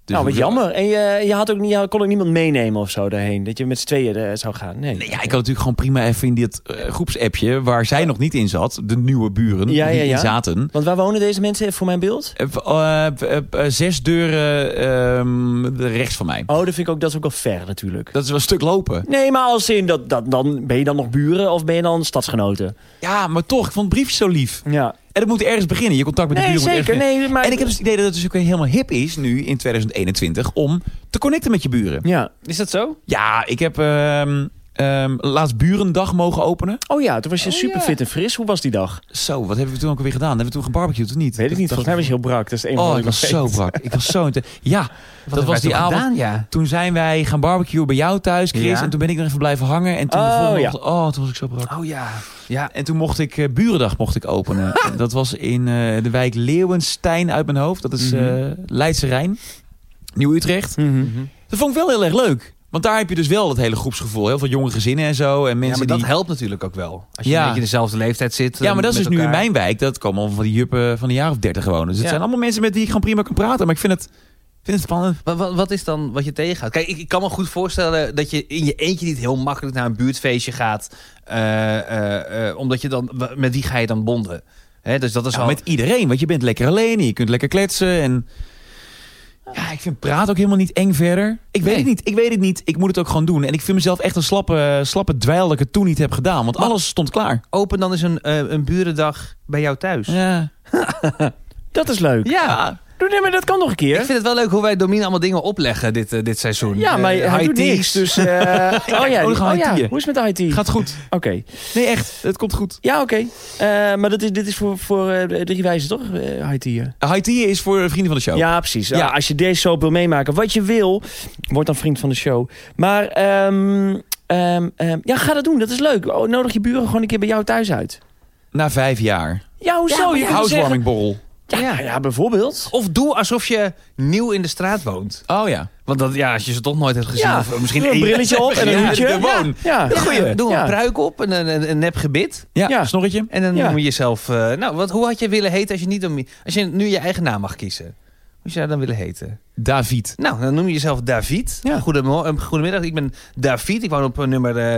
S2: Dus
S1: nou, wat
S2: hoezo-
S1: jammer. En je, je, had ook niet, je kon ook niemand meenemen of zo daarheen. Dat je met z'n tweeën eh, zou gaan. Nee.
S2: Nee, ja, ik had natuurlijk gewoon prima even in dit eh, groepsappje waar zij nog niet in zat. De nieuwe buren
S1: Ja,
S2: die
S1: ja, ja.
S2: in zaten.
S1: Want waar wonen deze mensen even voor mijn beeld?
S2: Eh, eh, eh, eh, zes deuren ehm, rechts van mij.
S1: Oh, dat vind ik ook, dat is ook wel ver natuurlijk.
S2: Dat is wel een stuk lopen.
S1: Nee, maar als in, dat, dat, dan ben je dan nog buren of ben je dan stadsgenoten?
S2: Ja, maar toch, ik vond het briefje zo lief.
S1: Ja.
S2: En dat moet ergens beginnen. Je contact met de
S1: Nee,
S2: buren moet ergens
S1: zeker.
S2: beginnen.
S1: Nee, maar...
S2: En ik heb dus het idee dat het dus ook helemaal hip is nu in 2021 om te connecten met je buren.
S1: Ja.
S3: Is dat zo?
S2: Ja, ik heb ehm, ehm, laatst burendag mogen openen.
S1: Oh ja, toen was je
S3: Oh,
S1: super fit en fris. Hoe was die dag?
S2: Zo, wat hebben we toen ook alweer gedaan? Hebben we toen gebarbecued of niet?
S1: Weet ik niet.
S2: Dat-
S1: Volgens mij was je heel brak. Dat is het enige
S2: Oh,
S1: wat
S2: ik was
S1: nog
S2: zo
S1: weet.
S2: brak. Ik was zo... inte- Ja, dat was die avond.
S3: Gedaan, ja.
S2: Toen zijn wij gaan barbecuen bij jou thuis, Chris.
S3: Ja.
S2: En toen ben ik nog even blijven hangen. En toen
S1: Oh,
S2: de volgende
S1: ja.
S2: ochtend- Oh, toen was ik zo brak.
S3: Oh ja. Ja.
S2: En toen mocht ik eh, Burendag mocht ik openen. En dat was in eh, de wijk Leeuwenstein uit mijn hoofd. Dat
S3: Mhm.
S2: is eh Leidse Rijn. Nieuw-Utrecht.
S1: Mhm.
S2: Dat vond ik wel heel erg leuk. Want daar heb je dus wel dat hele groepsgevoel. Heel veel jonge gezinnen en zo. En
S3: ja,
S2: mensen
S3: maar dat
S2: die...
S3: helpt natuurlijk ook wel. Als je
S2: Ja.
S3: een beetje in dezelfde leeftijd zit. eh,
S2: Ja, maar dat is dus
S3: met
S2: nu in
S3: elkaar.
S2: mijn wijk. Dat komen allemaal van die juppen van een jaar of dertig gewoon. Dus het
S3: Ja.
S2: zijn allemaal mensen met die ik gewoon prima kan praten. Maar ik vind het, ik vind het spannend.
S3: Wat, wat, wat is dan wat je tegenhoudt? Kijk, ik, ik kan me goed voorstellen dat je in je eentje niet heel makkelijk naar een buurtfeestje gaat. eh, eh, eh, omdat je dan, wa- met wie ga je dan bonden? Hè, dus dat is
S2: Ja,
S3: al...
S2: met iedereen. Want je bent lekker alleen. en Je kunt lekker kletsen. En ja, ik vind praat ook helemaal niet eng verder. Ik weet
S3: Nee.
S2: het niet. Ik weet het niet. Ik moet het ook gewoon doen. En ik vind mezelf echt een slappe, slappe dweil dat ik het toen niet heb gedaan. Want
S3: Maar-
S2: alles stond klaar.
S3: Open dan eens een, eh, een burendag bij jou thuis.
S2: Ja.
S1: Dat is leuk.
S3: Ja.
S1: Doe- Nee, maar dat kan nog een
S3: Ik
S1: keer.
S3: vind het wel leuk hoe wij Domien allemaal dingen opleggen dit, eh, dit seizoen.
S1: Ja, maar
S3: Eh,
S1: hij
S3: high
S1: doet
S3: teas.
S1: niks. Dus, eh, oh ja,
S2: nog
S1: oh ja.
S2: IT'en.
S1: Hoe is het met de IT?
S2: Gaat goed.
S1: Oké.
S2: Nee, echt. Het komt goed.
S1: Ja, oké. Eh, maar dat is, dit is voor, voor eh, drie wijzen, toch? Eh, IT. eh?
S2: IT is voor vrienden van de show.
S1: Ja, precies.
S2: Oh. Ja.
S1: Ah, als je deze soap wil meemaken, wat je wil, word dan vriend van de show. Maar ehm, ehm, ehm, ja, ga dat doen. Dat is leuk. Oh, nodig je buren gewoon een keer bij jou thuis uit.
S2: Na vijf jaar.
S1: Ja, hoezo?
S3: Ja, maar
S1: je kunt zeggen-
S2: Housewarming borrel.
S1: Ja, ja, bijvoorbeeld.
S3: Of doe alsof je nieuw in de straat woont.
S2: Oh ja.
S3: Want dat, ja, als je ze toch nooit hebt
S2: Dus
S3: gezien.
S1: Ja.
S3: Of eh, misschien
S1: Doe een
S3: één-
S1: brilletje op en een
S3: Ja,
S1: hoedje.
S3: de woon.
S1: Ja.
S3: Ja,
S2: Goeie.
S3: Doe een
S1: Ja.
S3: pruik op en een, een, een nep gebit.
S2: Ja,
S1: Ja.
S2: snorretje.
S3: En dan
S1: Ja.
S3: noem je jezelf... eh, nou, wat, hoe had je willen heten als je, niet om, als je nu je eigen naam mag kiezen? Hoe zou je dan willen heten?
S2: David.
S3: Nou, dan noem je jezelf David.
S1: Ja.
S3: Goedemo- eh, goedemiddag, ik ben David. Ik woon op eh, nummer... eh,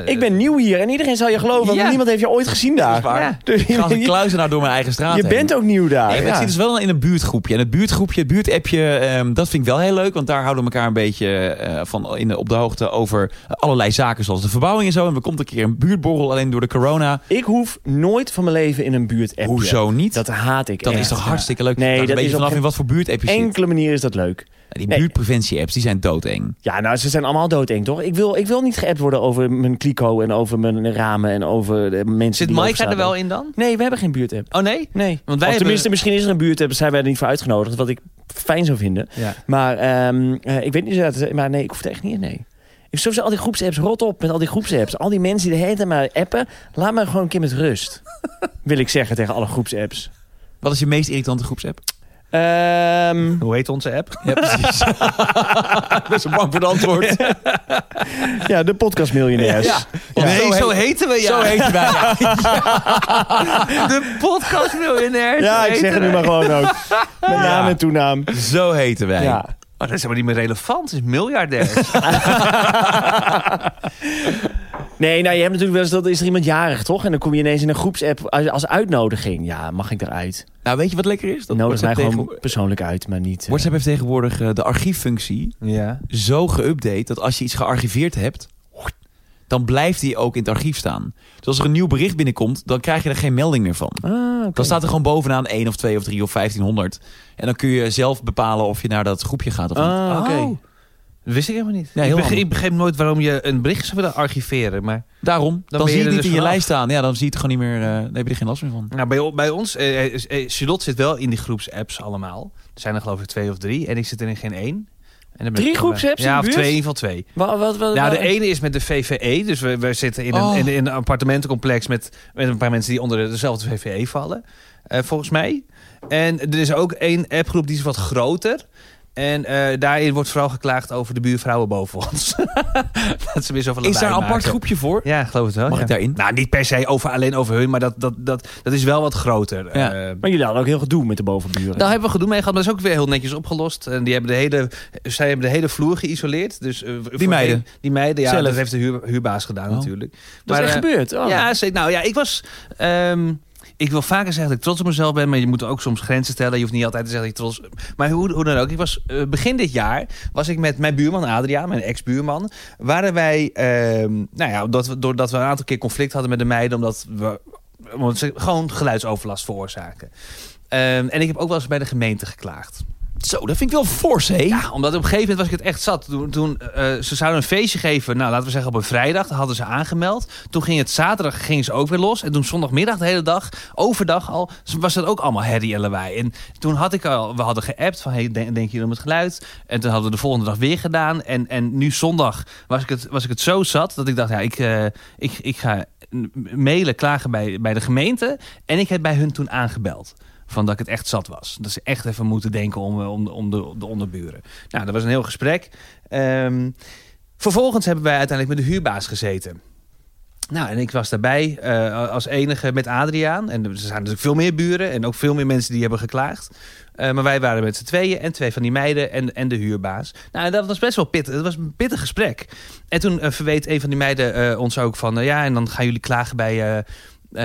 S3: eh,
S1: Ik ben nieuw hier en iedereen zal je geloven, want
S3: Ja.
S1: niemand heeft je ooit gezien daar.
S3: waar.
S1: Ja. Dus
S2: Ik ga als een
S1: je,
S2: kluizenaar nou door mijn eigen straat
S1: je
S2: heen.
S1: bent ook nieuw daar.
S2: Nee, maar
S1: Ah, ja.
S2: het zit dus wel in een buurtgroepje. En het buurtgroepje, het buurtappje, ehm, dat vind ik wel heel leuk. Want daar houden we elkaar een beetje eh, van in, op de hoogte over allerlei zaken. Zoals de verbouwing en zo. En we komt een keer een buurtborrel alleen door de corona.
S1: Ik hoef nooit van mijn leven in een buurt app.
S2: Hoezo niet?
S1: Dat haat ik.
S2: dat
S1: echt.
S2: is toch
S1: Ja.
S2: hartstikke leuk.
S1: Nee,
S2: dat
S1: dat
S2: een beetje
S1: is op
S2: vanaf in
S1: geen
S2: wat voor buurtapp je zit.
S1: Enkele manier is dat leuk.
S2: Die
S1: nee.
S2: buurtpreventie-apps, die zijn doodeng.
S1: Ja, nou, ze zijn allemaal doodeng, toch? Ik wil, ik wil niet geappt worden over mijn kliko en over mijn ramen en over de mensen
S3: Zit
S1: die
S3: Maaika er
S1: opstaan.
S3: wel in dan?
S1: Nee, we hebben geen buurtapp.
S3: Oh nee?
S1: Nee.
S3: Want wij
S1: of
S3: hebben-
S1: tenminste, misschien is er een buurtapp, zijn wij er niet voor uitgenodigd, wat ik fijn zou vinden.
S3: Ja.
S1: Maar ehm, eh, ik weet niet zo dat, maar nee, ik hoef het echt niet, nee. Ik sowieso al die groepsapps, rot op met al die groepsapps. Al die mensen die de hele tijd maar appen, laat mij gewoon een keer met rust. Wil ik zeggen tegen alle groepsapps.
S2: Wat is je meest irritante groepsapp?
S1: Ehm, Ehm,
S3: Hoe heet onze app?
S2: Ja, precies. Ik ben zo bang voor het antwoord.
S1: ja, de podcastmiljonairs. Ja.
S3: Nee, zo heten we ja.
S2: Zo heet wij. Ja.
S3: De podcast miljonair.
S1: Ja, ik zeg het nu maar gewoon ook. Met naam en toenaam.
S2: Zo heten wij.
S1: Ja.
S3: Maar Oh, dat is helemaal niet meer relevant. Het is miljardairs.
S1: Nee, nou, je hebt natuurlijk wel eens dat is er iemand jarig, toch? En dan kom je ineens in een groepsapp als, als uitnodiging. Ja, mag ik eruit?
S2: Nou, weet je wat lekker is?
S1: Dan nodig mij
S2: WhatsApp
S1: gewoon
S2: tegen-
S1: persoonlijk uit, maar niet. eh,
S2: WhatsApp heeft tegenwoordig eh, de archieffunctie
S3: ja.
S2: zo geüpdate dat als je iets gearchiveerd hebt, dan blijft die ook in het archief staan. Dus als er een nieuw bericht binnenkomt, dan krijg je er geen melding meer van.
S1: Ah, oké.
S2: Dan staat er gewoon bovenaan 1 of 2 of 3 of 1500. En dan kun je zelf bepalen of je naar dat groepje gaat of niet.
S1: Ah, oké.
S3: Oh, dat wist ik helemaal niet.
S2: Ja, heel
S3: ik, begreep,
S2: handig.
S3: ik begreep nooit waarom je een bericht zou willen archiveren. Maar
S2: Daarom, dan,
S3: ben je
S2: zie je
S3: er
S2: het niet
S3: dus
S2: in je
S3: vanaf.
S2: lijst staan. Ja, dan zie je het gewoon niet meer, eh, dan heb je er geen last meer van.
S3: nou, bij, o- bij ons, eh, eh, eh, Charlotte zit wel in die groepsapps allemaal. Er zijn er geloof ik twee of drie. En ik zit er in geen één. En dan ben
S1: Drie
S3: ik gewoon bij-
S1: groepsapps in
S3: Ja,
S1: de
S3: of
S1: buurt?
S3: twee, in ieder geval twee.
S1: Wat, wat, wat,
S3: Nou, de
S1: wat-
S3: ene is met de VVE. Dus we, we zitten in,
S2: Oh.
S3: een, in, in een appartementencomplex met, met een paar mensen die onder de- dezelfde VVE vallen. eh, volgens mij. En er is ook één appgroep die is wat groter. En eh, daarin wordt vooral geklaagd over de buurvrouwen boven ons. dat ze weer zoveel
S2: Is daar
S3: lawaai
S2: een apart
S3: maken.
S2: groepje voor?
S3: Ja, ik geloof het wel.
S2: Mag
S3: ja.
S2: ik daarin?
S3: Nou, niet per se over, alleen over hun, maar dat, dat, dat, dat is wel wat groter.
S2: Ja.
S3: Eh,
S1: Maar jullie hadden ook heel gedoe met de bovenburen.
S3: daar Nou, hebben we gedoe mee gehad, maar dat is ook weer heel netjes opgelost. En die hebben de hele, zij hebben de hele vloer geïsoleerd. Dus, eh, voorheen-
S2: meiden?
S3: Die meiden, ja.
S2: Zelf?
S3: Dat heeft de huur- huurbaas gedaan
S2: Oh.
S3: natuurlijk.
S1: dat is echt
S3: eh,
S1: gebeurd. Oh.
S3: Ja, ze- nou ja, ik was... ehm, ik wil vaker zeggen dat ik trots op mezelf ben, maar je moet ook soms grenzen stellen. Je hoeft niet altijd te zeggen dat je trots... Maar hoe, hoe dan ook, ik was, eh, begin dit jaar was ik met mijn buurman Adriaan, mijn ex-buurman... waren wij, ehm, nou ja, omdat we, doordat we een aantal keer conflict hadden met de meiden... omdat we omdat ze gewoon geluidsoverlast veroorzaken. Ehm, en ik heb ook wel eens bij de gemeente geklaagd.
S2: Zo, dat vind ik wel fors, hé.
S3: Ja, omdat op een gegeven moment was ik het echt zat. Toen, toen, eh, ze zouden een feestje geven, nou, laten we zeggen op een vrijdag. Dat hadden ze aangemeld. Toen ging het zaterdag ging ze ook weer los. En toen zondagmiddag de hele dag, overdag al, was dat ook allemaal herrie en lawaai. En toen had ik al, we hadden geappt van, hey, denk, denk jullie om het geluid? En toen hadden we de volgende dag weer gedaan. En, en nu zondag was ik, het, was ik het zo zat dat ik dacht, ja, ik, eh, ik, ik ga mailen, klagen bij, bij de gemeente. En ik heb bij hun toen aangebeld. Van dat ik het echt zat was. Dat ze echt even moeten denken om, eh, om, de- om de, de onderburen. Nou, dat was een heel gesprek. Ehm, vervolgens hebben wij uiteindelijk met de huurbaas gezeten. Nou, en ik was daarbij eh, als enige met Adriaan. En er zijn natuurlijk veel meer buren en ook veel meer mensen die hebben geklaagd. Eh, maar wij waren met z'n tweeën en twee van die meiden en, en de huurbaas. Nou, en dat was best wel pittig. Het was een pittig gesprek. En toen eh, verweet een van die meiden eh, ons ook van... eh, ja, en dan gaan jullie klagen bij, eh,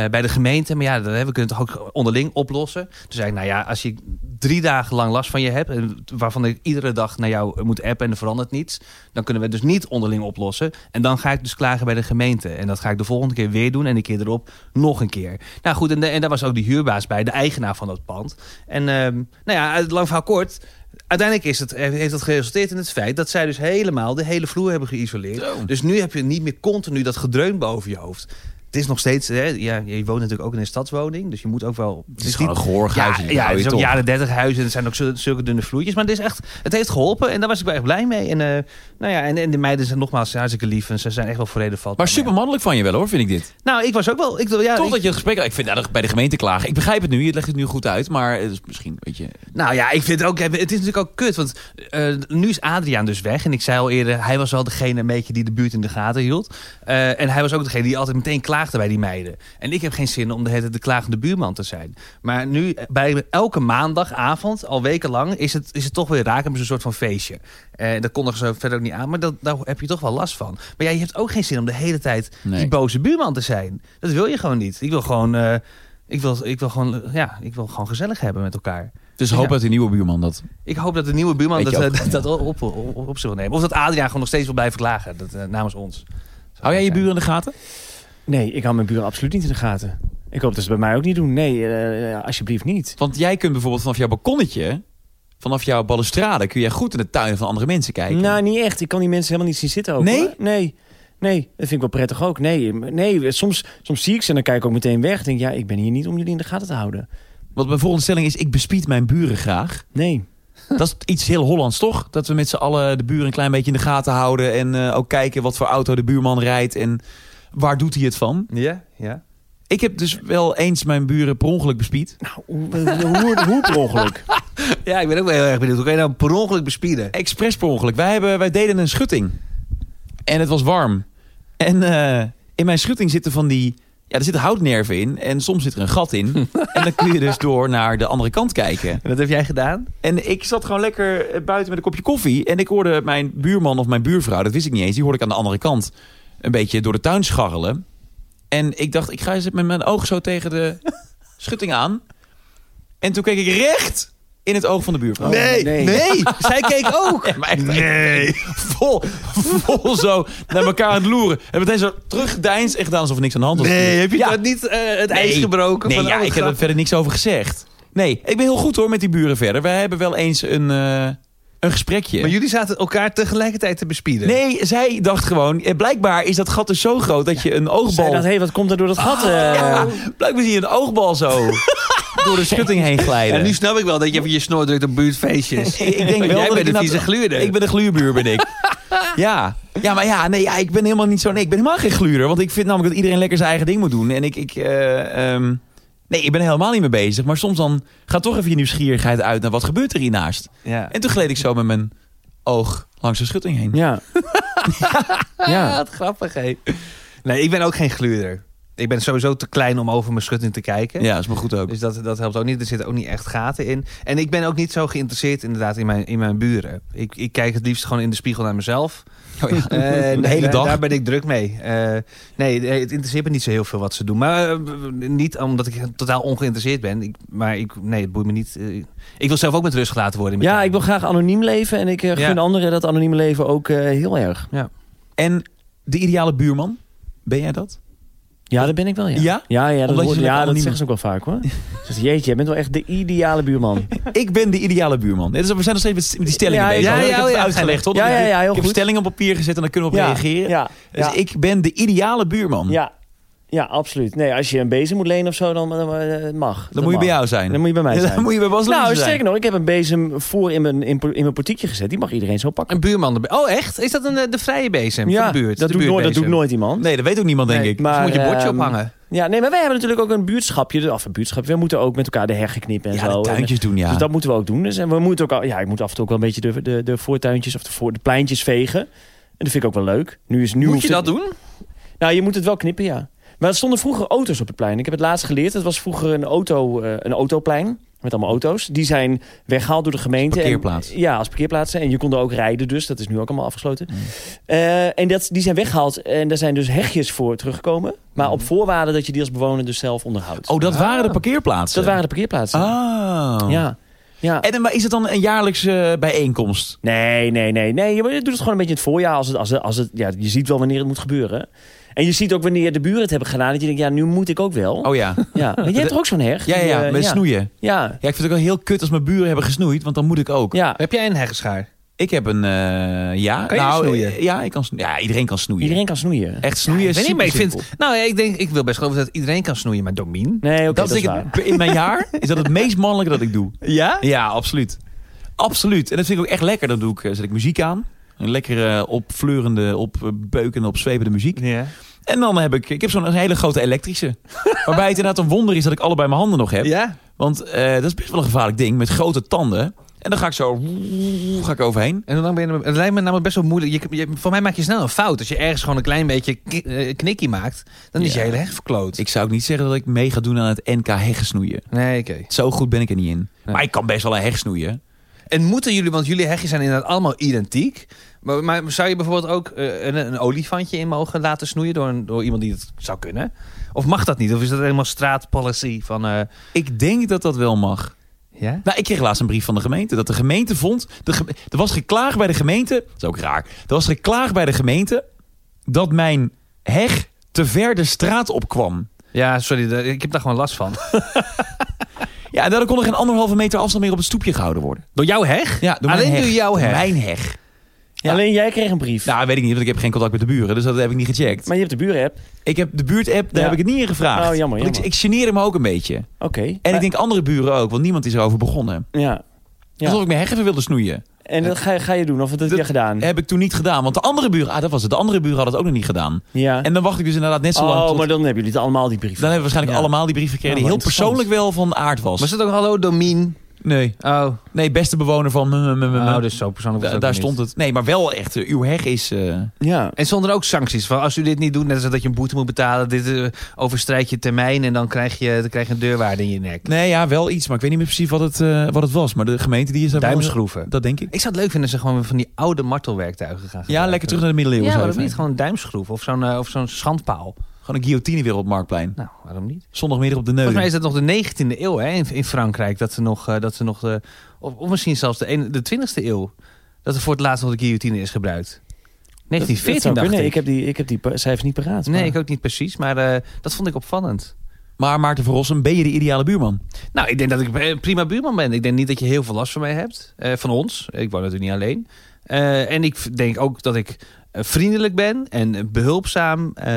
S3: eh, bij de gemeente. Maar ja, dat, hè, we kunnen het toch ook onderling oplossen. Toen zei ik, nou ja, als je drie dagen lang last van je hebt... en waarvan ik iedere dag naar jou eh, moet appen en er verandert niets... dan kunnen we het dus niet onderling oplossen. En dan ga ik dus klagen bij de gemeente. En dat ga ik de volgende keer weer doen en de keer erop nog een keer. Nou goed, en, de- en daar was ook die huurbaas bij, de eigenaar van dat pand. En ehm, nou ja, uit- lang verhaal kort... Uiteindelijk is het, eh, heeft dat geresulteerd in het feit dat zij dus helemaal de hele vloer hebben geïsoleerd. Dus nu heb je niet meer continu dat gedreun boven je hoofd. Het is nog steeds, hè, ja, je woont natuurlijk ook in een stadswoning, dus je moet ook wel.
S2: Het is gewoon een gehoorig
S3: ja,
S2: huis. en dat
S3: ja,
S2: hou
S3: het
S2: je
S3: is ook
S2: toch.
S3: jaren 30 huizen en het zijn ook zul- zulke dunne vloertjes. Maar het, is echt, het heeft geholpen en daar was ik wel echt blij mee. En, eh, nou ja, en, en de meiden zijn nogmaals hartstikke lief en ze zijn echt wel voor reden vatbaar.
S2: Maar supermannelijk van je wel, hoor, vind ik dit.
S3: Ja. Nou, ik was ook wel. Ik, wil- ja,
S2: Toch
S3: ik-
S2: dat je het gesprek... Ik vind nou, bij de gemeente klagen. Ik begrijp het nu, je legt het nu goed uit. Maar het is misschien, weet je...
S3: Nou ja, ik vind het ook. Het is natuurlijk ook kut. Want eh, nu is Adriaan dus weg. En ik zei al eerder, hij was wel degene een beetje die de buurt in de gaten hield. Eh, en hij was ook degene die altijd meteen klaagde bij die meiden. En ik heb geen zin om de hele tijd de klagende buurman te zijn. Maar nu, eh, bij elke maandagavond, al wekenlang, is het, is het toch weer raak. Hebben ze een soort van feestje. Eh dat kondigen ze verder ook niet aan. Maar dat, daar heb je toch wel last van. Maar ja, je hebt ook geen zin om de hele tijd
S2: Nee.
S3: die boze buurman te zijn. Dat wil je gewoon niet. Ik wil gewoon. eh, ik wil, ik, wil gewoon, ja, ik wil gewoon gezellig hebben met elkaar.
S2: Dus hoop
S3: Ja.
S2: dat die nieuwe buurman dat...
S3: Ik hoop dat de nieuwe buurman
S2: Weet
S3: dat,
S2: je ook,
S3: eh, dat, dat op, op, op, op zich wil nemen. Of dat Adriaan gewoon nog steeds wil blijven klagen. Dat, eh, namens ons.
S2: Hou jij je buren in de gaten?
S1: Nee, ik hou mijn buren absoluut niet in de gaten. Ik hoop dat ze het bij mij ook niet doen. Nee, eh, alsjeblieft niet.
S2: Want jij kunt bijvoorbeeld vanaf jouw balkonnetje... Vanaf jouw balustrade kun jij goed in de tuin van andere mensen kijken.
S1: Nou, niet echt. Ik kan die mensen helemaal niet zien zitten ook.
S2: Nee?
S1: hoor. Nee. Nee, dat vind ik wel prettig ook. Nee, nee soms, soms zie ik ze en dan kijk ik ook meteen weg. Ik denk, ja, ik ben hier niet om jullie in de gaten te houden.
S2: Want mijn volgende stelling is... Ik bespied mijn buren graag.
S1: Nee.
S2: Dat is iets heel Hollands, toch? Dat we met z'n allen de buren een klein beetje in de gaten houden. En eh, ook kijken wat voor auto de buurman rijdt. En waar doet hij het van?
S3: Ja, ja.
S2: Ik heb dus wel eens mijn buren per ongeluk bespied.
S1: Nou, hoe, hoe, hoe, hoe per ongeluk?
S3: Ja, ik ben ook wel heel erg benieuwd. Hoe kan je nou per ongeluk bespieden?
S2: Expres per ongeluk. Wij, hebben, wij deden een schutting. En het was warm. En eh, in mijn schutting zitten van die... Ja, er zitten houtnerven in. En soms zit er een gat in. en dan kun je dus door naar de andere kant kijken.
S3: En wat heb jij gedaan?
S2: En ik zat gewoon lekker eh, buiten met een kopje koffie. En ik hoorde mijn buurman of mijn buurvrouw, dat wist ik niet eens. Die hoorde ik aan de andere kant een beetje door de tuin scharrelen. En ik dacht, ik ga eens met mijn oog zo tegen de schutting aan. En toen keek ik recht in het oog van de
S3: Oh,
S2: buurvrouw.
S1: Nee, nee.
S3: Zij keek ook.
S2: Ja, maar echt, nee. Vol, vol zo naar elkaar aan het loeren. En meteen zo teruggedeinsd en gedaan alsof er niks aan de hand was.
S3: Nee, heb je
S2: Ja.
S3: dat niet eh, het ijs
S2: Nee.
S3: gebroken?
S2: Nee,
S3: van,
S2: ja,
S3: oh,
S2: ik heb
S3: grap.
S2: er verder niks over gezegd. Nee, ik ben heel goed hoor met die buren verder. Wij hebben wel eens een, eh, een gesprekje.
S3: Maar jullie zaten elkaar tegelijkertijd te bespieden.
S2: Nee, zij dacht gewoon, eh, blijkbaar is dat gat dus zo groot dat je een
S1: Zei
S2: oogbal...
S1: dat, hé, wat komt er door dat gat? eh?
S2: Ja, blijkbaar zie je een oogbal zo door de schutting heen glijden.
S3: En nu snap ik wel dat je even je snor drukt op buurtfeestjes.
S2: Ik- ik denk wel dat
S3: Jij
S2: ik
S3: bent de
S2: inderdaad-
S3: vieze gluurder.
S2: Ik ben een gluurbuur, ben ik. ja. ja, maar ja, nee, ja, ik ben helemaal niet zo... Nee, ik ben helemaal geen gluurder. Want ik vind namelijk dat iedereen lekker zijn eigen ding moet doen. En ik... ik eh, ehm, nee, ik ben er helemaal niet mee bezig. Maar soms dan gaat toch even je nieuwsgierigheid uit naar wat gebeurt er hiernaast.
S3: Ja.
S2: En toen gleed ik zo met mijn oog langs de schutting heen.
S1: Ja.
S3: Ah,
S1: ja.
S3: wat grappig, hé. Nee, ik ben ook geen gluurder. Ik ben sowieso te klein om over mijn schutting te kijken.
S2: Ja, is maar goed ook.
S3: Dus dat, dat helpt ook niet. Er zitten ook niet echt gaten in. En ik ben ook niet zo geïnteresseerd inderdaad in mijn, in mijn buren. Ik, ik kijk het liefst gewoon in de spiegel naar mezelf.
S2: Oh ja.
S3: Eh,
S2: De
S3: daar-
S2: hele dag.
S3: Daar ben ik druk mee. Eh, nee, nee, het interesseert me niet zo heel veel wat ze doen. Maar eh, niet omdat ik totaal ongeïnteresseerd ben. Ik, maar ik, nee, het boeit me niet. Eh, ik wil zelf ook met rust gelaten worden. in mijn
S1: ja,
S3: tuin.
S1: ik wil graag anoniem leven en ik eh, gun
S3: Ja.
S1: anderen dat anonieme leven ook eh, heel erg.
S2: En de ideale buurman, ben jij dat?
S1: Ja, dat ben ik wel, ja.
S2: Ja?
S1: Ja, ja, dat,
S2: Omdat je
S1: wordt,
S2: zo lekker
S1: ja, dat
S2: anoniem
S1: zeggen ze ook wel vaak, hoor. Ze zeggen, jeetje, jij bent wel echt de ideale buurman.
S2: Ik ben de ideale buurman. Dit is- We zijn nog steeds met- met die stellingen
S1: Ja,
S2: bezig.
S1: ja,
S2: hoor. ik
S3: ja,
S2: heb het
S3: ja.
S2: uitgelegd. Hoor.
S1: Ja, ja, ja, heel
S2: ik heb
S1: goed.
S2: stellingen op papier gezet en daar kunnen we op
S1: ja,
S2: reageren.
S1: Ja,
S2: Dus
S1: ja,
S2: ik ben de ideale buurman.
S1: ja, ja, absoluut. Nee, als je een bezem moet lenen of zo, dan, dan, eh, mag.
S2: Dan moet je bij jou zijn.
S1: Dan moet je bij mij zijn.
S2: Dan moet je bij Bas
S1: Nou,
S2: Loensen zijn.
S1: sterker nog, ik heb een bezem voor in mijn, in, in mijn portiekje gezet. Die mag iedereen zo pakken.
S3: Een buurman erbij. Oh, echt? Is dat een, eh, de vrije bezem?
S1: ja,
S3: van de buurt,
S1: dat,
S3: de
S1: doet nooit, dat doet
S3: buurtbezem?
S1: nooit iemand.
S2: Nee, dat weet ook niemand, denk
S3: Nee,
S2: ik.
S1: maar,
S3: dus moet je bordje
S1: ehm,
S3: ophangen.
S1: Ja, nee, maar wij hebben natuurlijk ook een buurtschapje. Of een buurtschapje. We moeten ook met elkaar de heggen knippen en
S2: ja,
S1: zo.
S2: de
S1: En,
S2: tuintjes doen, ja.
S1: Dus dat moeten we ook doen. Dus, en we moeten ook al, ja, ik moet af en toe ook wel een beetje de, de, de voortuintjes of de, voor, de pleintjes vegen. En dat vind ik ook wel leuk. Nu is, nu
S3: Moet
S1: hoeft
S3: je
S1: het-
S3: dat doen?
S1: Nou, je moet het wel knippen, ja. Maar er stonden vroeger auto's op het plein. Ik heb het laatst geleerd. Het was vroeger een, auto, eh, een autoplein met allemaal auto's. Die zijn weggehaald door de gemeente.
S2: Als parkeerplaats.
S1: En, ja, als parkeerplaatsen. En je kon er ook rijden dus. Dat is nu ook allemaal afgesloten.
S2: Mm.
S1: Eh, en dat, die zijn weggehaald. En daar zijn dus hegjes voor teruggekomen. Maar op voorwaarde dat je die als bewoner dus zelf onderhoudt.
S2: Mm. Oh, dat waren de parkeerplaatsen.
S1: Ah. dat waren de parkeerplaatsen.
S2: Oh.
S1: Ja. ja.
S2: En dan- maar is het dan een jaarlijkse bijeenkomst?
S1: Nee, nee, nee. nee. Je doet het gewoon een beetje in het voorjaar. Als het, als het, als het, ja, je ziet wel wanneer het moet gebeuren. En je ziet ook wanneer de buren het hebben gedaan. Dat je denkt, ja, nu moet ik ook wel.
S2: Oh ja.
S1: Ja, maar jij hebt er ook zo'n heg?
S2: Ja, ja,
S1: Die,
S2: ja,
S1: eh,
S2: met snoeien.
S1: Ja,
S2: Ja, ik vind het ook wel heel kut als mijn buren hebben gesnoeid, want dan moet ik ook.
S1: ja.
S3: Heb jij een heggenschaar?
S2: Ik heb een, eh, ja.
S3: Kan je
S2: nou,
S3: snoeien?
S2: eh, Ja, ik kan snoeien. Ja, iedereen kan snoeien.
S1: Iedereen kan snoeien.
S2: Echt snoeien
S3: Ik
S2: is
S3: weet niet, maar ik
S2: supersimpel.
S3: vind... Nou, ja, ik, denk, ik wil best geloven dat iedereen kan snoeien, maar Domien?
S1: Nee, oké, dat,
S2: dat
S1: is
S2: vind ik
S1: waar.
S2: het- in mijn jaar is dat het meest mannelijke dat ik doe.
S3: Ja?
S2: Ja, absoluut. Absoluut. En dat vind ik ook echt lekker. Dan doe ik, eh, zet ik muziek aan. Een lekkere, eh, opfleurende, opbeukende, opzwepende muziek.
S3: Ja.
S2: En dan heb ik, ik heb zo'n hele grote elektrische. Waarbij het inderdaad een wonder is dat ik allebei mijn handen nog heb.
S3: Ja?
S2: Want eh, dat is best wel een gevaarlijk ding met grote tanden. En dan ga ik zo ga ik overheen.
S3: En hoe lang ben je... er- Het lijkt me namelijk best wel moeilijk. Je, je- voor mij maak je snel een fout. Als je ergens gewoon een klein beetje ki- eh, knikkie maakt, dan is
S2: Ja.
S3: je hele heg verkloot.
S2: Ik zou ook niet zeggen dat ik mee ga doen aan het NK heggensnoeien.
S3: Nee, oké.
S2: Zo goed ben ik er niet in. Maar ik kan best wel een heg snoeien.
S3: En moeten jullie, want jullie hegjes zijn inderdaad allemaal identiek. Maar, maar zou je bijvoorbeeld ook eh, een, een olifantje in mogen laten snoeien door, een, door iemand die het zou kunnen? Of mag dat niet? Of is dat helemaal straatpolicy van... eh,
S2: Ik denk dat dat wel mag.
S3: ja?
S2: Nou, ik kreeg laatst een brief van de gemeente. Dat de gemeente vond. De gem- er was geklaagd bij de gemeente. Dat is ook raar. Er was geklaagd bij de gemeente. dat mijn heg te ver de straat opkwam.
S3: Ja, sorry, daar- ik heb daar gewoon last van.
S2: Ja, en daardoor kon er geen anderhalve meter afstand meer op het stoepje gehouden worden.
S3: Door jouw heg?
S2: Ja, door mijn
S3: Alleen
S2: heg.
S3: door jouw
S2: Door
S3: heg?
S2: Mijn heg. Ja.
S1: Alleen jij kreeg een brief.
S2: Nou, weet ik niet, want ik heb geen contact met de buren. Dus dat heb ik niet gecheckt.
S1: Maar je hebt de buren-app.
S2: Ik heb de buurt-app, daar
S1: Ja.
S2: heb ik het niet in gevraagd.
S1: Oh, jammer,
S2: Want ik,
S1: jammer.
S2: ik geneerde me ook een beetje.
S1: Oké.
S2: En
S1: Maar-
S2: ik denk andere buren ook, want niemand is erover begonnen.
S1: Ja. Ja.
S2: Alsof ik mijn heg even wilde snoeien.
S1: En dat ga, je- ga je doen, of dat heb
S2: Dat-
S1: je gedaan?
S2: Heb ik toen niet gedaan, want de andere buren... Ah, dat was het. De andere buren hadden het ook nog niet gedaan.
S1: Ja.
S2: En dan wacht ik dus inderdaad net zo lang
S1: oh,
S2: tot-
S1: maar dan hebben jullie het allemaal die brief.
S2: Dan hebben we waarschijnlijk
S1: Ja.
S2: allemaal die brief gekregen...
S1: Ja,
S2: die heel
S1: wel interessant.
S2: persoonlijk wel van aard was.
S3: Was het ook hallo Domien?
S2: Nee,
S3: Oh,
S2: nee, beste bewoner van... mm, mm, mm, mm.
S3: oh dus zo persoonlijk was
S2: Da-
S3: het ook
S2: daar
S3: niet.
S2: stond het. Nee, maar wel echt. eh, uw heg is... eh,
S1: Ja.
S3: En stonden er ook sancties van als u dit niet doet, net als dat je een boete moet betalen, dit eh, overstrijd je termijn en dan krijg je, dan krijg je een deurwaarde in je nek.
S2: Nee, ja, wel iets. Maar ik weet niet meer precies wat het, eh, wat het was. Maar de gemeente die is daar... wel-
S3: Duimschroeven.
S2: Dat denk ik.
S3: Ik zou het leuk vinden als ze gewoon weer van die oude martelwerktuigen gaan
S2: Ja,
S3: gebruiken.
S2: lekker terug naar de middeleeuwen.
S3: Ja,
S2: zou
S3: waarom
S2: je
S3: niet?
S2: zeggen.
S3: Gewoon een duimschroef of zo'n eh, of zo'n schandpaal.
S2: Gewoon een guillotine weer op Marktplein.
S3: Nou, waarom niet?
S2: Zondagmiddag op de neus.
S3: Volgens mij is dat nog de 19e eeuw hè, in, in Frankrijk. Dat ze nog, eh, dat ze nog eh, of, of misschien zelfs de, een- de 20e eeuw. Dat er voor het laatst nog de guillotine is gebruikt. 1914 dacht
S1: nee,
S3: ik.
S1: ik heb die, ik heb die pa- cijfers niet paraat.
S3: Nee,
S1: maar-
S3: ik ook niet precies, maar eh, dat vond ik opvallend.
S2: Maar Maarten Verrossen, ben je de ideale buurman?
S3: Nou, ik denk dat ik een prima buurman ben. Ik denk niet dat je heel veel last van mij hebt, eh, van ons. Ik woon natuurlijk niet alleen. Eh, en ik denk ook dat ik eh, vriendelijk ben en eh, behulpzaam. Eh,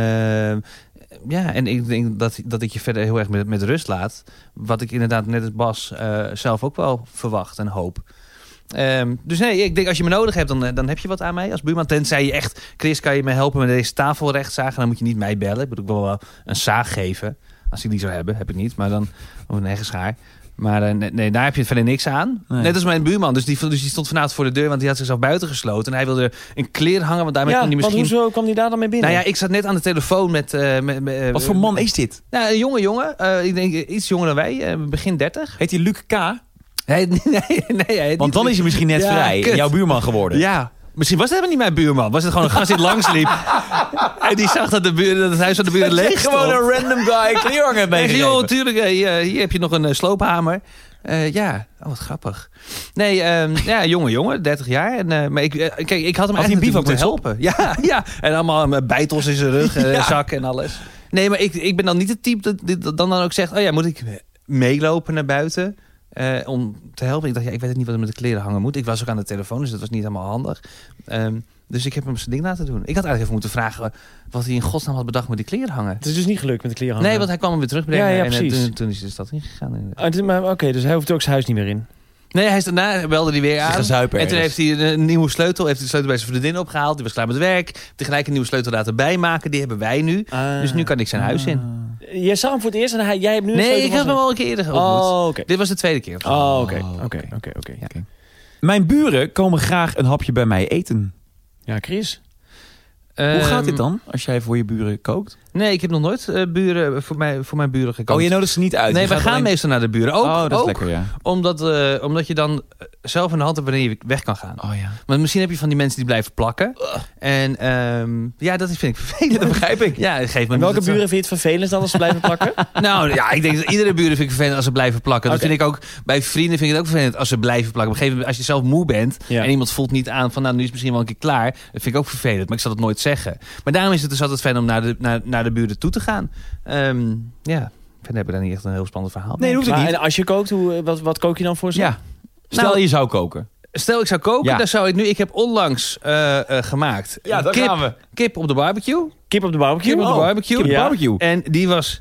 S3: ja, en ik denk dat, dat ik je verder heel erg met, met rust laat. Wat ik inderdaad net als Bas eh, zelf ook wel verwacht en hoop. Ehm, dus nee, ik denk als je me nodig hebt, dan, eh, dan heb je wat aan mij als buurman. Tenzij je echt, Chris, kan je me helpen met deze tafel rechtzagen? Dan moet je niet mij bellen. Ik bedoel, ik wil wel een zaag geven. Als ik die zou hebben, heb ik niet. Maar dan, of een heggenschaar. Maar eh, nee, nee, daar heb je verder niks aan.
S2: Nee.
S3: Net als mijn buurman. Dus die, dus die stond vanavond voor de deur, want die had zichzelf buiten gesloten. En hij wilde een kleer hangen, want daarmee
S1: ja,
S3: kon hij misschien...
S1: want hoezo kwam die daar dan mee binnen?
S3: Nou ja, ik zat net aan de telefoon met... eh, met, met, eh,
S2: Wat voor man is dit?
S3: Nou, een jonge jongen. Eh, ik denk eh, iets jonger dan wij. eh, begin 30.
S2: Heet hij Luc K?
S3: Nee, nee, nee. hij
S2: Want
S3: heet niet-
S2: dan is hij misschien net
S3: Ja,
S2: vrij.
S3: kut.
S2: en jouw buurman geworden.
S3: Ja. Misschien was het helemaal niet mijn buurman. Was het gewoon een gast die langsliep. En die zag dat, de buur, dat het huis van de buren leeg stond.
S2: Gewoon een random guy kleerhanger
S3: Nee,
S2: mee.
S3: joh, tuurlijk. eh, hier, hier heb je nog een eh, sloophamer. Eh, ja, oh, wat grappig. Nee, ehm, ja, jonge jongen, 30 jaar. En, eh, maar ik, eh, kijk, ik had hem
S2: Had hij een bivak
S3: eigenlijk moeten helpen. Ja, ja, en allemaal eh, bijtels in zijn rug, eh,
S2: Ja.
S3: zak en alles. Nee, maar ik, ik ben dan niet het type dat, dit- dat dan, dan ook zegt... oh ja, moet ik meelopen naar buiten eh, om te helpen? Ik dacht, ja, ik weet het niet wat er met de kleren hangen moet. Ik was ook aan de telefoon, dus dat was niet helemaal handig. Ehm, dus ik heb hem zijn ding laten doen. Ik had eigenlijk even moeten vragen wat hij in godsnaam had bedacht met die kleren hangen.
S1: Het is dus niet gelukt met de
S2: Oh,
S1: klerenhandel.
S3: Nee, want hij kwam hem weer terugbrengen.
S1: Ja, ja,
S3: en eh,
S1: precies.
S3: toen, toen is hij de stad ingegaan. inderdaad.
S1: Ah, het is maar- Oké, dus hij hoeft ook zijn huis niet meer in.
S3: Nee, hij is daarna belde hij weer
S2: gaan
S3: aan.
S2: zuipen
S3: en toen
S2: ergens.
S3: heeft hij een, een nieuwe sleutel. Heeft hij de sleutel bij zijn vriendin opgehaald. Die was klaar met werk. Tegelijk een nieuwe sleutel laten bijmaken. Die hebben wij nu. Dus nu kan ik
S2: Ah.
S3: zijn huis in.
S1: Jij zag hem voor het eerst en hij, jij hebt nu een
S3: Nee,
S1: sleutel
S3: ik heb
S1: van
S3: hem
S1: zijn-
S3: al een keer eerder ontmoet.
S1: Oh, oké.
S3: Dit was de tweede keer.
S1: Oh, oké.
S2: Oh,
S1: Oké, oké, oké.
S3: Ja.
S2: Mijn buren komen graag een hapje bij mij eten.
S1: Ja, Chris.
S2: Hoe
S3: Ehm,
S2: gaat dit dan als jij voor je buren kookt?
S3: Nee, ik heb nog nooit eh, buren, voor, mij, voor mijn buren gekookt.
S2: Oh, je nodigt ze niet uit.
S3: nee,
S2: Je
S3: we
S2: gaat
S3: gaan
S2: alleen-
S3: meestal naar de buren. Ook,
S2: Oh, dat is
S3: ook
S2: lekker, ja.
S3: Omdat, eh, omdat je dan eh, zelf in de hand hebt wanneer je weg kan gaan.
S2: Oh ja.
S3: Want misschien heb je van die mensen die blijven plakken. En ehm, ja, dat vind ik vervelend. Dat begrijp ik. Ja, geef me
S1: En welke
S3: dat-
S1: buren vind je het vervelend dan als ze blijven plakken?
S3: Nou ja, ik denk dat iedere buren vind ik vervelend als ze blijven plakken. Dat
S1: Oké.
S3: vind ik ook bij vrienden vind ik het ook vervelend als ze blijven plakken. Op een gegeven moment, als je zelf moe bent
S1: Ja.
S3: en iemand voelt niet aan van nou nu is het misschien wel een keer klaar. Dat vind ik ook vervelend, maar ik zal het nooit zeggen. Maar daarom is het dus altijd fijn om naar de, naar, naar de buren toe te gaan. Ehm, ja, verder hebben we daar niet echt een heel spannend verhaal.
S2: Nee, dat hoeft
S1: Maar,
S2: het
S1: en
S2: niet.
S1: als je kookt, hoe, eh, wat, wat kook je dan voor ze?
S2: Ja. Stel
S3: Nou-
S2: je zou koken.
S3: Stel ik zou koken,
S2: Ja.
S3: dan zou ik nu... Ik heb onlangs eh, eh, gemaakt
S2: Ja, dat
S3: kip,
S2: gaan we.
S3: kip op de barbecue.
S1: Kip op de barbecue?
S3: Kip op de
S1: Oh.
S3: barbecue.
S2: Kip op de
S1: Ja.
S2: barbecue.
S3: En die was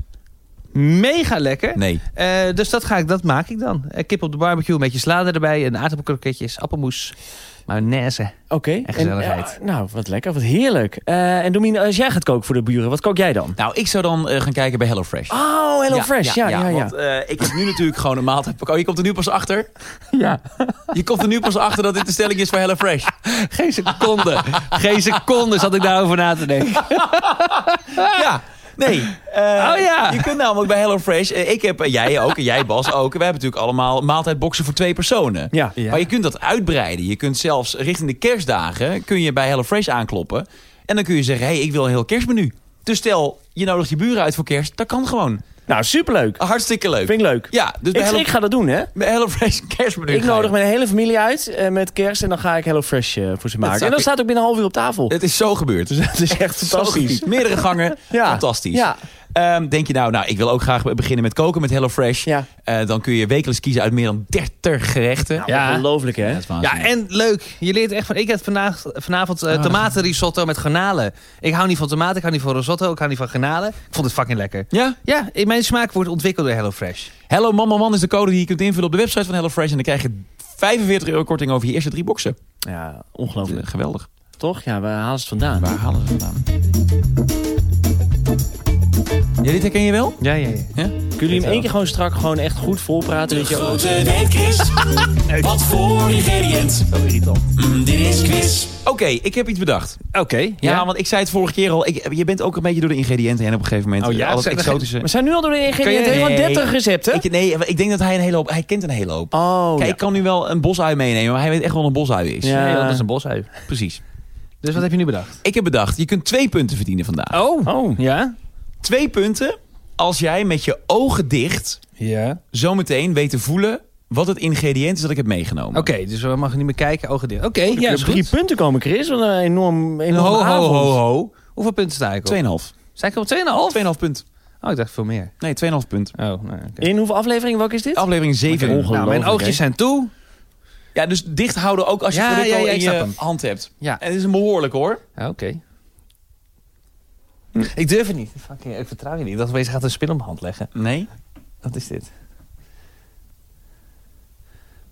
S3: mega lekker.
S2: Nee.
S3: Eh, dus dat, ga ik, dat maak ik dan. Eh, kip op de barbecue, een beetje salade erbij. En aardappelkroketjes, appelmoes, mayonaise.
S1: Oké.
S3: En gezelligheid.
S1: eh, nou, wat lekker, wat heerlijk. Eh, en Domien, als jij gaat koken voor de buren, wat kook jij dan?
S2: Nou, ik zou dan eh, gaan kijken bij HelloFresh.
S1: Oh, Hello Fresh. Ja, ja, ja.
S2: Want eh, ik heb nu natuurlijk gewoon een maaltijd. Oh, je komt er nu pas achter.
S3: Ja.
S2: Je komt er nu pas achter dat dit de stelling is voor HelloFresh.
S3: Geen seconde. Ah, Geen seconde zat ik daarover na te denken.
S2: Ja. Nee. Eh,
S3: Oh ja.
S2: Je kunt namelijk bij HelloFresh. eh, ik heb, eh, jij ook, en jij Bas ook. We hebben natuurlijk allemaal maaltijdboxen voor twee personen.
S1: Ja.
S3: Ja.
S2: Maar je kunt dat uitbreiden. Je kunt zelfs richting de kerstdagen kun je bij HelloFresh aankloppen. En dan kun je zeggen, hey, ik wil een heel kerstmenu. Dus stel, je nodigt je buren uit voor kerst. Dat kan gewoon.
S1: Nou, superleuk.
S2: Hartstikke leuk.
S1: Vind ik leuk.
S2: Ah. Ja, dus bij,
S1: ik,
S2: Hello,
S1: ik ga dat doen, hè?
S2: bij HelloFresh een kerstmenu.
S1: Ik
S2: ga je.
S1: nodig mijn hele familie uit eh, met kerst en dan ga ik Hello Fresh eh, voor ze maken.
S2: zou
S1: En dan
S2: ik-
S1: staat het ook binnen een half uur op tafel.
S2: Het is zo gebeurd.
S1: Dus dat is echt fantastisch.
S2: Zo goed. Meerdere gangen.
S1: Ja.
S2: Fantastisch.
S1: Ja.
S2: Ehm, denk je nou, nou, ik wil ook graag beginnen met koken met HelloFresh.
S1: Ja.
S2: Eh, dan kun je wekelijks kiezen uit meer dan 30 gerechten.
S3: Ja.
S1: Ongelooflijk, hè?
S2: dat is
S3: Ja,
S2: waanzinnig.
S3: en leuk. Je leert echt van... Ik heb vandaag, vanavond eh, tomatenrisotto met garnalen. Ik hou niet van tomaten, ik hou niet van risotto, ik hou niet van garnalen. Ik vond het fucking lekker.
S2: ja?
S3: Ja, in mijn smaak wordt ontwikkeld door HelloFresh.
S2: Hello Mama Man is de code die je kunt invullen op de website van HelloFresh. En dan krijg je 45 euro korting over je eerste drie boxen.
S1: Ja, ongelooflijk.
S2: Eh, Geweldig.
S1: Toch? Ja, we halen het vandaan.
S2: Waar halen ze het vandaan? Ja, dit herken je wel?
S3: Ja, ja, ja.
S2: Ja?
S1: Kunnen jullie hem één keer gewoon strak gewoon echt goed volpraten? Weet je? wel?
S5: Grote week is. Wat voor ingrediënt? Mm, Dit is quiz.
S2: Oké, ik heb iets bedacht.
S3: Oké.
S2: Ja, want ik zei het vorige keer al. Ik, je bent ook een beetje door de ingrediënten heen op een gegeven moment.
S3: Oh ja?
S2: al dat
S3: Zijn er geen-
S2: exotische.
S1: We zijn nu al door de ingrediënten
S2: Kan je-
S1: heen, want
S2: nee.
S1: 30 recepten.
S2: Ik, nee, ik denk dat hij een hele hoop... Hij kent een hele hoop.
S1: Oh,
S2: Kijk,
S1: ja.
S2: ik kan nu wel een bosui meenemen, maar hij weet echt wel wat een bosui is.
S1: Ja.
S3: Nee, dat is een boshui.
S2: Precies.
S3: Dus wat heb je nu bedacht?
S2: Ik heb bedacht, je kunt twee punten verdienen vandaag.
S3: Oh.
S1: Oh,
S3: Ja?
S2: Twee punten als jij met je ogen dicht
S3: Ja.
S2: zometeen weet te voelen wat het ingrediënt is dat ik heb meegenomen.
S3: Oké, dus we mogen niet meer kijken, ogen dicht. Oké, ja,
S1: ja,
S3: is
S1: drie
S3: goed.
S1: punten komen, Chris. Wat een enorm, enorm
S3: Ho, ho,
S1: avond.
S3: ho, ho. Hoeveel punten sta ik op?
S2: 2,5.
S3: Sta ik op 2,5?
S2: 2,5 punt.
S3: Oh, ik dacht veel meer.
S2: Nee, 2,5 punt.
S3: Oh, nou, oké.
S1: In hoeveel afleveringen? Welke is dit?
S2: Aflevering 7.
S1: Ongelooflijk.
S3: Nou, mijn oogjes zijn toe.
S2: Ja, dus dicht houden ook als je
S3: Ja,
S2: het product
S3: ja, ja,
S2: al
S3: ik
S2: in
S3: snap
S2: je
S3: hem.
S2: hand hebt.
S3: Ja.
S2: En het is een behoorlijk hoor.
S3: Ja, Oké.
S1: Hm.
S3: Ik durf het niet. Fucking, ik vertrouw je niet. Ik dacht opeens, je gaat een spin op mijn hand leggen.
S2: Nee?
S3: Wat is dit?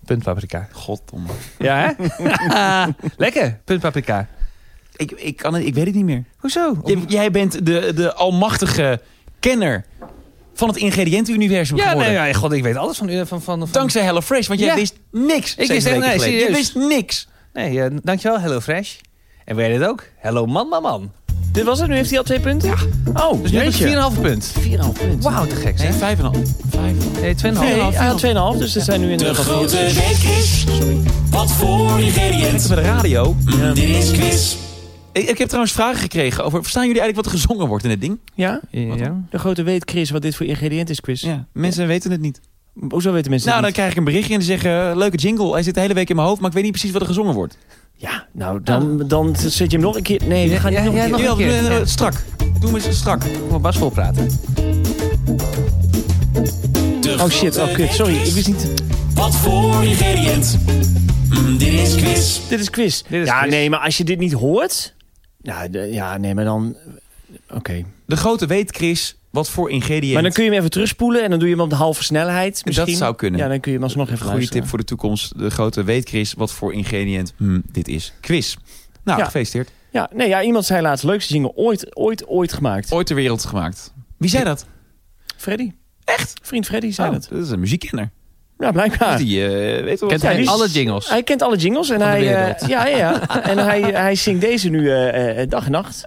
S3: Puntpaprika.
S2: Goddomme.
S3: Ja, hè? Lekker, puntpaprika.
S2: Ik, ik, kan het, ik weet het niet meer.
S3: Hoezo?
S2: Jij, jij bent de, de almachtige kenner van het ingrediëntenuniversum
S3: Ja,
S2: geworden.
S3: nee, ja, god, ik weet alles van u. Van, van, van,
S2: Dankzij HelloFresh, want jij
S3: Ja.
S2: wist niks.
S3: Ik
S2: zeven
S3: wist echt-
S2: weken
S3: nee,
S2: geleden. Je
S3: serieus.
S2: wist niks.
S3: Nee, eh, dankjewel, Hello Fresh. En weet je dit ook? Hello Man Man Man.
S1: Dit was het, nu heeft hij al twee punten? Oh,
S3: Dus nu heb
S1: jeetje.
S3: ik 4,5 punt.
S1: 4,5 punten.
S3: Wauw, te gek,
S2: Nee,
S3: zeg.
S2: vijf en een half. Vijf en een half.
S3: Nee, 2,5.
S1: Nee, hij had 2,5, dus dat zijn nu
S5: De
S1: inderdaad al
S5: grote
S1: vier.
S5: week is. Wat voor ingrediënt?
S2: Mensen bij de radio.
S5: Mm, Dit is quiz.
S2: Ik, ik heb trouwens vragen gekregen over... Verstaan jullie eigenlijk wat er gezongen wordt in dit ding?
S1: Ja?
S3: Ja.
S1: De grote weet, Chris, wat dit voor ingrediënt is, Chris.
S2: Mensen weten het niet.
S1: Hoezo weten mensen dat
S2: Nou, dan
S1: niet?
S2: krijg ik een berichtje en die zeggen... eh, Leuke jingle, hij zit de hele week in mijn hoofd... maar ik weet niet precies wat er gezongen wordt.
S1: Ja, nou, dan, dan zet je hem nog een keer... Nee, we gaan
S3: ja,
S1: niet nog
S3: ja,
S1: een
S3: nog
S1: keer...
S3: een
S2: Jawel,
S3: keer,
S2: eh,
S3: ja.
S2: Strak. Doe maar eens strak.
S3: Ik moet Bas vol praten.
S5: De
S1: Oh
S5: grote
S1: shit, oh kut,
S5: week
S1: sorry,
S5: is.
S1: ik wist niet...
S5: Wat voor ingrediënt? Mm, Dit is quiz.
S1: Dit is quiz.
S3: Dit is
S1: ja,
S3: quiz.
S1: nee, maar als je dit niet hoort... Ja, de- ja nee, maar dan... Oké.
S2: De grote weet, Chris, wat voor ingrediënt...
S1: Maar dan kun je hem even terugspoelen en dan doe je hem op de halve snelheid misschien.
S2: zou kunnen.
S1: Ja, dan kun je hem alsnog even
S2: Goede
S1: luisteren.
S2: tip voor de toekomst. De grote weet, Chris, wat voor ingrediënt hmm, dit is. Quiz. Nou,
S1: Ja.
S2: gefeliciteerd.
S1: Ja, nee, ja, iemand zei laatst, leukste single ooit, ooit, ooit gemaakt.
S2: Ooit ter wereld gemaakt. Wie zei dat?
S1: Freddy.
S2: Echt?
S1: Vriend Freddy zei
S2: Oh,
S1: dat.
S2: is een muziekkenner.
S1: Ja, blijkbaar.
S2: Die eh, weet wel
S1: Kent
S2: wat
S1: hij
S2: hij
S1: die?
S2: is.
S3: Alle jingles.
S1: Hij kent alle jingles en
S3: de
S1: hij, eh,
S3: wereld.
S1: ja, ja, ja. en hij, hij zingt deze nu eh, eh, dag en nacht.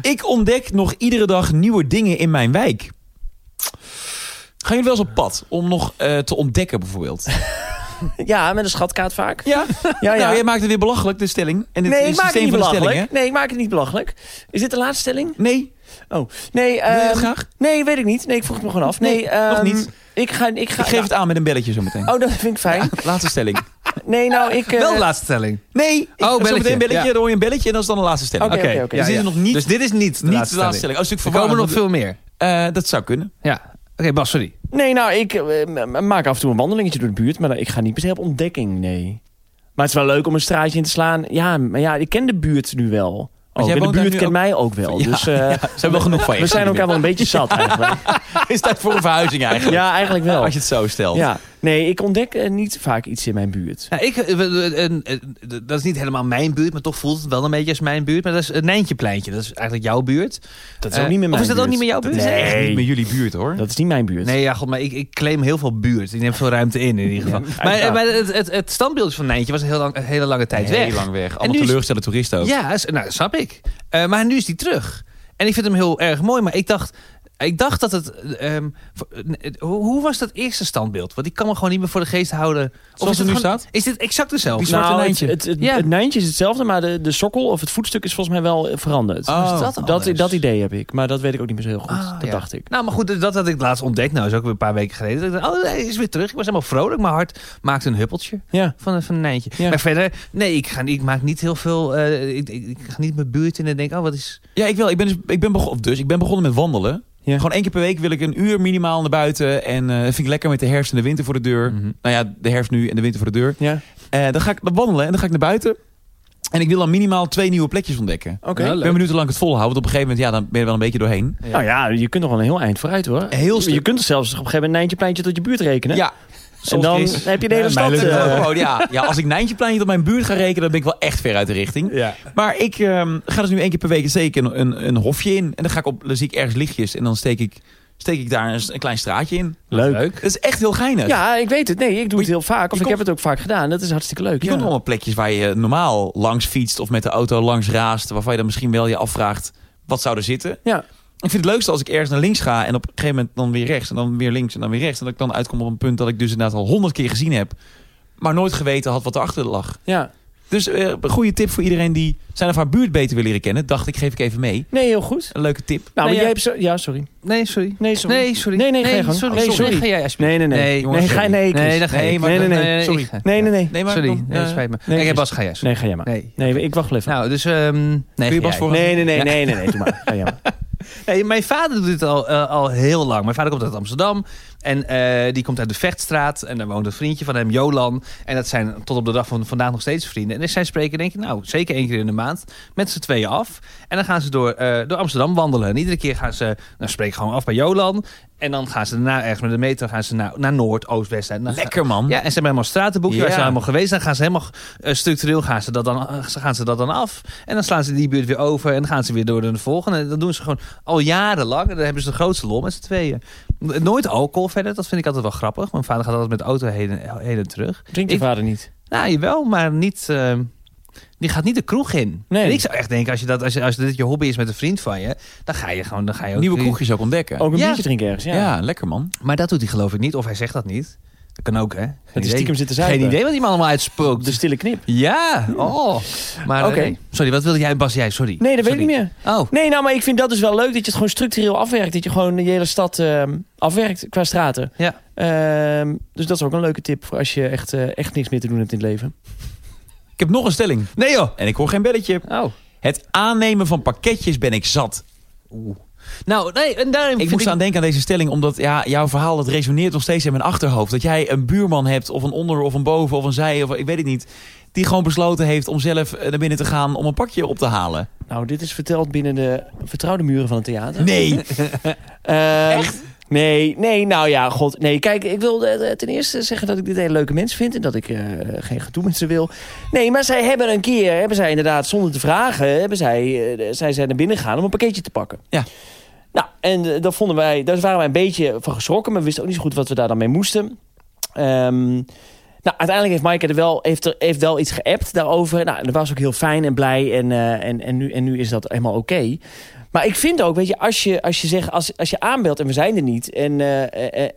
S2: Ik ontdek nog iedere dag nieuwe dingen in mijn wijk. Gaan jullie wel eens op pad om nog eh, te ontdekken bijvoorbeeld?
S1: Ja, met een schatkaart vaak.
S2: Ja?
S1: Ja, ja.
S2: Nou, jij maakt het weer belachelijk, de stelling. En dit
S1: nee,
S2: is
S1: ik maak het
S2: systeem
S1: niet
S2: van de stelling,
S1: belachelijk. Nee, ik maak het niet belachelijk. Is dit de laatste stelling?
S2: hè? Nee,
S1: Oh, nee.
S2: wil je
S1: ehm,
S2: dat graag?
S1: nee, weet ik niet. Nee, ik vroeg het me gewoon af. Nee,
S2: Nee, nog
S1: ehm,
S2: niet.
S1: Ik ga, ik ga.
S2: Ik geef het aan met een belletje zometeen.
S1: Oh, dat vind ik fijn.
S2: Laatste stelling.
S1: Nee, nou, ik. eh,
S3: Wel de laatste stelling.
S2: Nee, ik-
S3: belletje.
S2: zometeen een belletje,
S3: Ja.
S2: dan hoor je een belletje en dat is dan de laatste stelling.
S1: Oké, oké, oké.
S2: Dus dit is nog niet,
S3: Dus dit is niet de
S2: niet
S3: laatste
S2: de laatste
S3: stelling.
S2: stelling. Oh, een stuk
S3: Er komen
S2: verwarrend,
S3: nog veel meer.
S2: want, eh, dat zou kunnen.
S3: Ja. Oké, Bas, sorry.
S1: Nee, nou, ik eh, m- m- maak af en toe een wandelingetje door de buurt, maar ik ga niet per se op ontdekking, nee. Maar het is wel leuk om een straatje in te slaan. Ja, maar ja, ik ken de buurt nu wel. Ook,
S2: jij
S1: en de
S2: woont daar
S1: buurt
S2: nu
S1: kent
S2: ook-
S1: mij ook wel.
S2: Ja,
S1: dus eh,
S2: Ze hebben wel genoeg van je.
S1: we zijn elkaar wel een beetje zat eigenlijk.
S2: Is dat voor een verhuizing eigenlijk? Oh.
S1: Ja, eigenlijk wel.
S2: Als je het zo stelt.
S1: Ja. Nee, ik ontdek eh, niet vaak iets in mijn buurt.
S3: Nou, ik, eh, we- eh, eh, eh, d- dat is niet helemaal mijn buurt, maar toch voelt het wel een beetje als mijn buurt. Maar dat is het Nijntjepleintje. Dat is eigenlijk jouw buurt.
S1: Dat is
S3: Eh,
S1: ook niet meer mijn
S3: Of is dat
S1: buurt.
S3: ook niet meer jouw buurt?
S2: Het is echt
S1: Nee.
S2: niet meer jullie buurt hoor.
S1: Dat is niet mijn buurt.
S3: Nee, ja, god, maar ik, ik claim heel veel buurt. Ik neem veel ruimte in, in ieder geval. maar eh, maar het, het, het standbeeld van Nijntje was een, heel lang, een hele lange tijd weg.
S2: Heel lang weg.
S3: nu
S2: Allemaal
S3: is-
S2: teleurgestelde toeristen ook.
S3: Ja, is- nou, snap ik. Eh, maar nu is die terug. En ik vind hem heel erg mooi. Maar ik dacht, ik dacht dat het... ehm, voor- eh, hoe, hoe was dat eerste standbeeld? Want ik kan me gewoon niet meer voor de geest houden.
S2: Zoals
S3: is
S2: het
S3: dit
S2: nu
S3: gewoon-
S2: staat?
S3: Is dit exact
S2: Die
S3: hetzelfde?
S2: zwarte
S1: nou, het,
S2: nijntje.
S1: het, het,
S3: Ja.
S1: het nijntje is hetzelfde, maar de, de sokkel of het voetstuk is volgens mij wel eh, veranderd.
S2: Oh.
S3: Is dat
S1: dat,
S3: anders?
S1: dat idee heb ik, maar dat weet ik ook niet meer zo heel goed.
S3: Ah,
S1: dat
S3: ja.
S1: dacht ik.
S3: Nou, maar goed, dat had ik het laatst ontdekt. Nou, is ook weer een paar weken geleden. Dat ik dacht, oh, hij is weer terug. Ik was helemaal vrolijk. Mijn hart maakte een huppeltje
S1: Ja.
S3: van, van een eindje.
S1: Ja.
S3: Maar verder, nee, ik, ga, niet- ik maak niet heel veel... eh, ik, ik, ik ga niet mijn buurt in en denk, oh, wat is...
S2: Ja, ik wel. Ik ben, dus, ik ben begonnen, dus ik ben begonnen met wandelen.
S1: Ja.
S2: Gewoon één keer per week wil ik een uur minimaal naar buiten. En eh, dat vind ik lekker met de herfst en de winter voor de deur.
S3: Mhm.
S2: Nou ja, de herfst nu en de winter voor de deur.
S1: Ja.
S2: Eh, dan ga ik wandelen en dan ga ik naar buiten. En ik wil dan minimaal twee nieuwe plekjes ontdekken.
S1: Oké.
S3: Ja,
S2: Ik
S3: leuk.
S2: ben benieuwd hoe lang ik het volhoud. Want op een gegeven moment, ja, dan ben je er wel een beetje doorheen.
S1: Nou ja, je kunt nog wel een heel eind vooruit hoor.
S2: Een heel stuk.
S1: Je kunt er zelfs op een gegeven moment een eindje pleintje tot je buurt rekenen.
S2: Ja,
S1: en
S3: Soms
S1: dan
S3: is-
S1: heb je de hele
S2: Ja,
S1: stad.
S2: mij lukt het
S1: eh,
S2: ook gewoon, ja. ja, als ik Nijntjepleinje op mijn buurt ga rekenen, dan ben ik wel echt ver uit de richting.
S1: Ja.
S2: Maar ik ehm, ga dus nu één keer per week zeker een, een, een hofje in. En dan ga ik op, dan zie ik ergens lichtjes en dan steek ik, steek ik daar een, een klein straatje in.
S1: Leuk.
S2: Dat is echt heel geinig.
S1: Ja, ik weet het. Nee, ik doe het heel vaak. Of ik
S2: komt-
S1: heb het ook vaak gedaan. Dat is hartstikke leuk.
S2: Je
S1: ja.
S2: komt allemaal plekjes waar je normaal langs fietst of met de auto langs raast. Waarvan je dan misschien wel je afvraagt, wat zou er zitten?
S1: Ja.
S2: Ik vind het leukste als ik ergens naar links ga en op een gegeven moment dan weer rechts en dan weer links en dan weer rechts. En dat ik dan uitkom op een punt dat ik dus inderdaad al honderd keer gezien heb, maar nooit geweten had wat erachter lag.
S1: ja.
S2: Dus eh, een goede tip voor iedereen die zijn of haar buurt beter wil leren kennen. Dacht ik, geef ik even mee.
S1: Nee, heel goed.
S2: Een leuke tip.
S1: Nou, maar
S3: Nee,
S1: jij
S3: ja.
S1: hebt zo... Ja, sorry.
S3: Nee, sorry.
S1: Nee, sorry.
S3: Nee, sorry.
S1: Nee, nee, ga je gang.
S3: sorry.
S1: Oh,
S3: Nee,
S1: sorry.
S3: sorry. Ga jij alsjeblieft.
S1: Nee, nee, nee. Nee,
S3: Nee,
S2: jongens,
S1: ga,
S2: sorry.
S1: nee, Chris.
S3: Nee, dat ga
S1: nee,
S3: ik.
S1: nee, nee,
S3: Nee,
S1: nee,
S3: nee,
S1: sorry.
S3: ik ga-
S1: Nee, nee, nee.
S2: Nee, maar
S3: Sorry,
S2: dan,
S3: nee, dat
S2: eh,
S3: spijt me.
S1: nee,
S3: Nee,
S1: Chris.
S3: Bas, ga jij. sorry.
S1: Nee, ga jij maar.
S3: Nee.
S1: Nee, ik wacht wel even.
S3: Nou, dus... ehm nee,
S2: Wil je
S3: ga
S2: Bas
S3: jij.
S2: voor-
S1: Nee, nee, nee, nee, nee, nee, doe maar. Ga jij maar.
S3: Nee, mijn vader doet dit al, eh, al heel lang. Mijn vader komt uit Amsterdam. En eh, die komt uit de Vechtstraat. En daar woont een vriendje van hem, Jolan. En dat zijn tot op de dag van vandaag nog steeds vrienden. En dus zij spreken, denk ik, nou, zeker één keer in de maand. Met z'n tweeën af. En dan gaan ze door, eh, door Amsterdam wandelen. En iedere keer gaan ze, nou, spreken gewoon af bij Jolan. En dan gaan ze daarna ergens met de metro gaan ze naar, naar Noord, Oost, West. En dan gaan-
S2: Lekker man.
S3: ja, en ze hebben helemaal een stratenboekje
S2: Hm? Ja.
S3: waar ze allemaal geweest zijn. Dan gaan ze helemaal eh, structureel gaan ze, dat dan, eh, gaan ze dat dan af. En dan slaan ze die buurt weer over en dan gaan ze weer door naar de volgende. En dat doen ze gewoon al jarenlang. En dan hebben ze de grootste lol met z'n tweeën. Nooit alcohol verder, dat vind ik altijd wel grappig. Mijn vader gaat altijd met de auto heen en, heen en terug.
S1: Drinkt je
S3: Ik-
S1: vader niet?
S3: Nou, jawel, maar niet... eh, die gaat niet de kroeg in.
S1: Nee.
S3: En ik zou echt denken, als, je dat, als, je, als dit je hobby is met een vriend van je... dan ga je gewoon... Dan ga je ook
S2: Nieuwe kroegjes ook ontdekken.
S1: Ook een
S3: Ja.
S1: biertje drinken ergens, ja.
S2: ja. lekker man.
S3: Maar dat doet hij geloof ik niet. Of hij zegt dat niet. Dat kan ook, hè? Geen
S1: Dat is
S3: idee.
S1: stiekem zitten zuipen.
S3: Geen idee wat die man allemaal uitspookt.
S1: De stille knip.
S3: Ja, oh. Maar
S1: Oké.
S3: eh, sorry, wat wilde jij, Bas? Jij, sorry.
S1: Nee, dat weet ik
S3: Sorry.
S1: niet meer.
S3: Oh,
S1: Nee, nou, maar ik vind dat dus wel leuk dat je het gewoon structureel afwerkt. Dat je gewoon de hele stad ehm, afwerkt qua straten.
S3: Ja.
S1: Ehm, dus dat is ook een leuke tip voor als je echt, eh, echt niks meer te doen hebt in het leven.
S2: Ik heb nog een stelling.
S3: nee joh.
S2: En ik hoor geen belletje.
S3: Oh.
S2: Het aannemen van pakketjes ben ik zat.
S3: Nou, nee, en daarin
S2: Ik
S3: vind
S2: moest aan denken aan deze stelling, omdat ja, jouw verhaal dat resoneert nog steeds in mijn achterhoofd. Dat jij een buurman hebt, of een onder, of een boven, of een zij, of ik weet het niet. Die gewoon besloten heeft om zelf eh, naar binnen te gaan om een pakje op te halen.
S1: Nou, dit is verteld binnen de vertrouwde muren van het theater.
S2: Nee,
S1: Echt? Ehm, Nee, nee, nou ja, god. Nee, kijk, ik wil eh, ten eerste zeggen dat ik dit hele leuke mensen vind... en dat ik eh, geen gedoe met ze wil. Nee, maar zij hebben een keer, hebben zij inderdaad zonder te vragen... Hebben zij, eh, zijn zij naar binnen gegaan om een pakketje te pakken.
S2: Ja.
S1: Nou, en eh, dat vonden wij, daar waren wij een beetje van geschrokken... maar we wisten ook niet zo goed wat we daar dan mee moesten. Ehm nou, uiteindelijk heeft Maaike er wel, heeft er, heeft wel iets geappt daarover. Nou, dat was ook heel fijn en blij. En, eh, en, en, nu, en nu is dat helemaal oké. Maar ik vind ook, weet je, als je, als je zegt, als, als je aanbelt en we zijn er niet. En, eh, eh, eh, eh,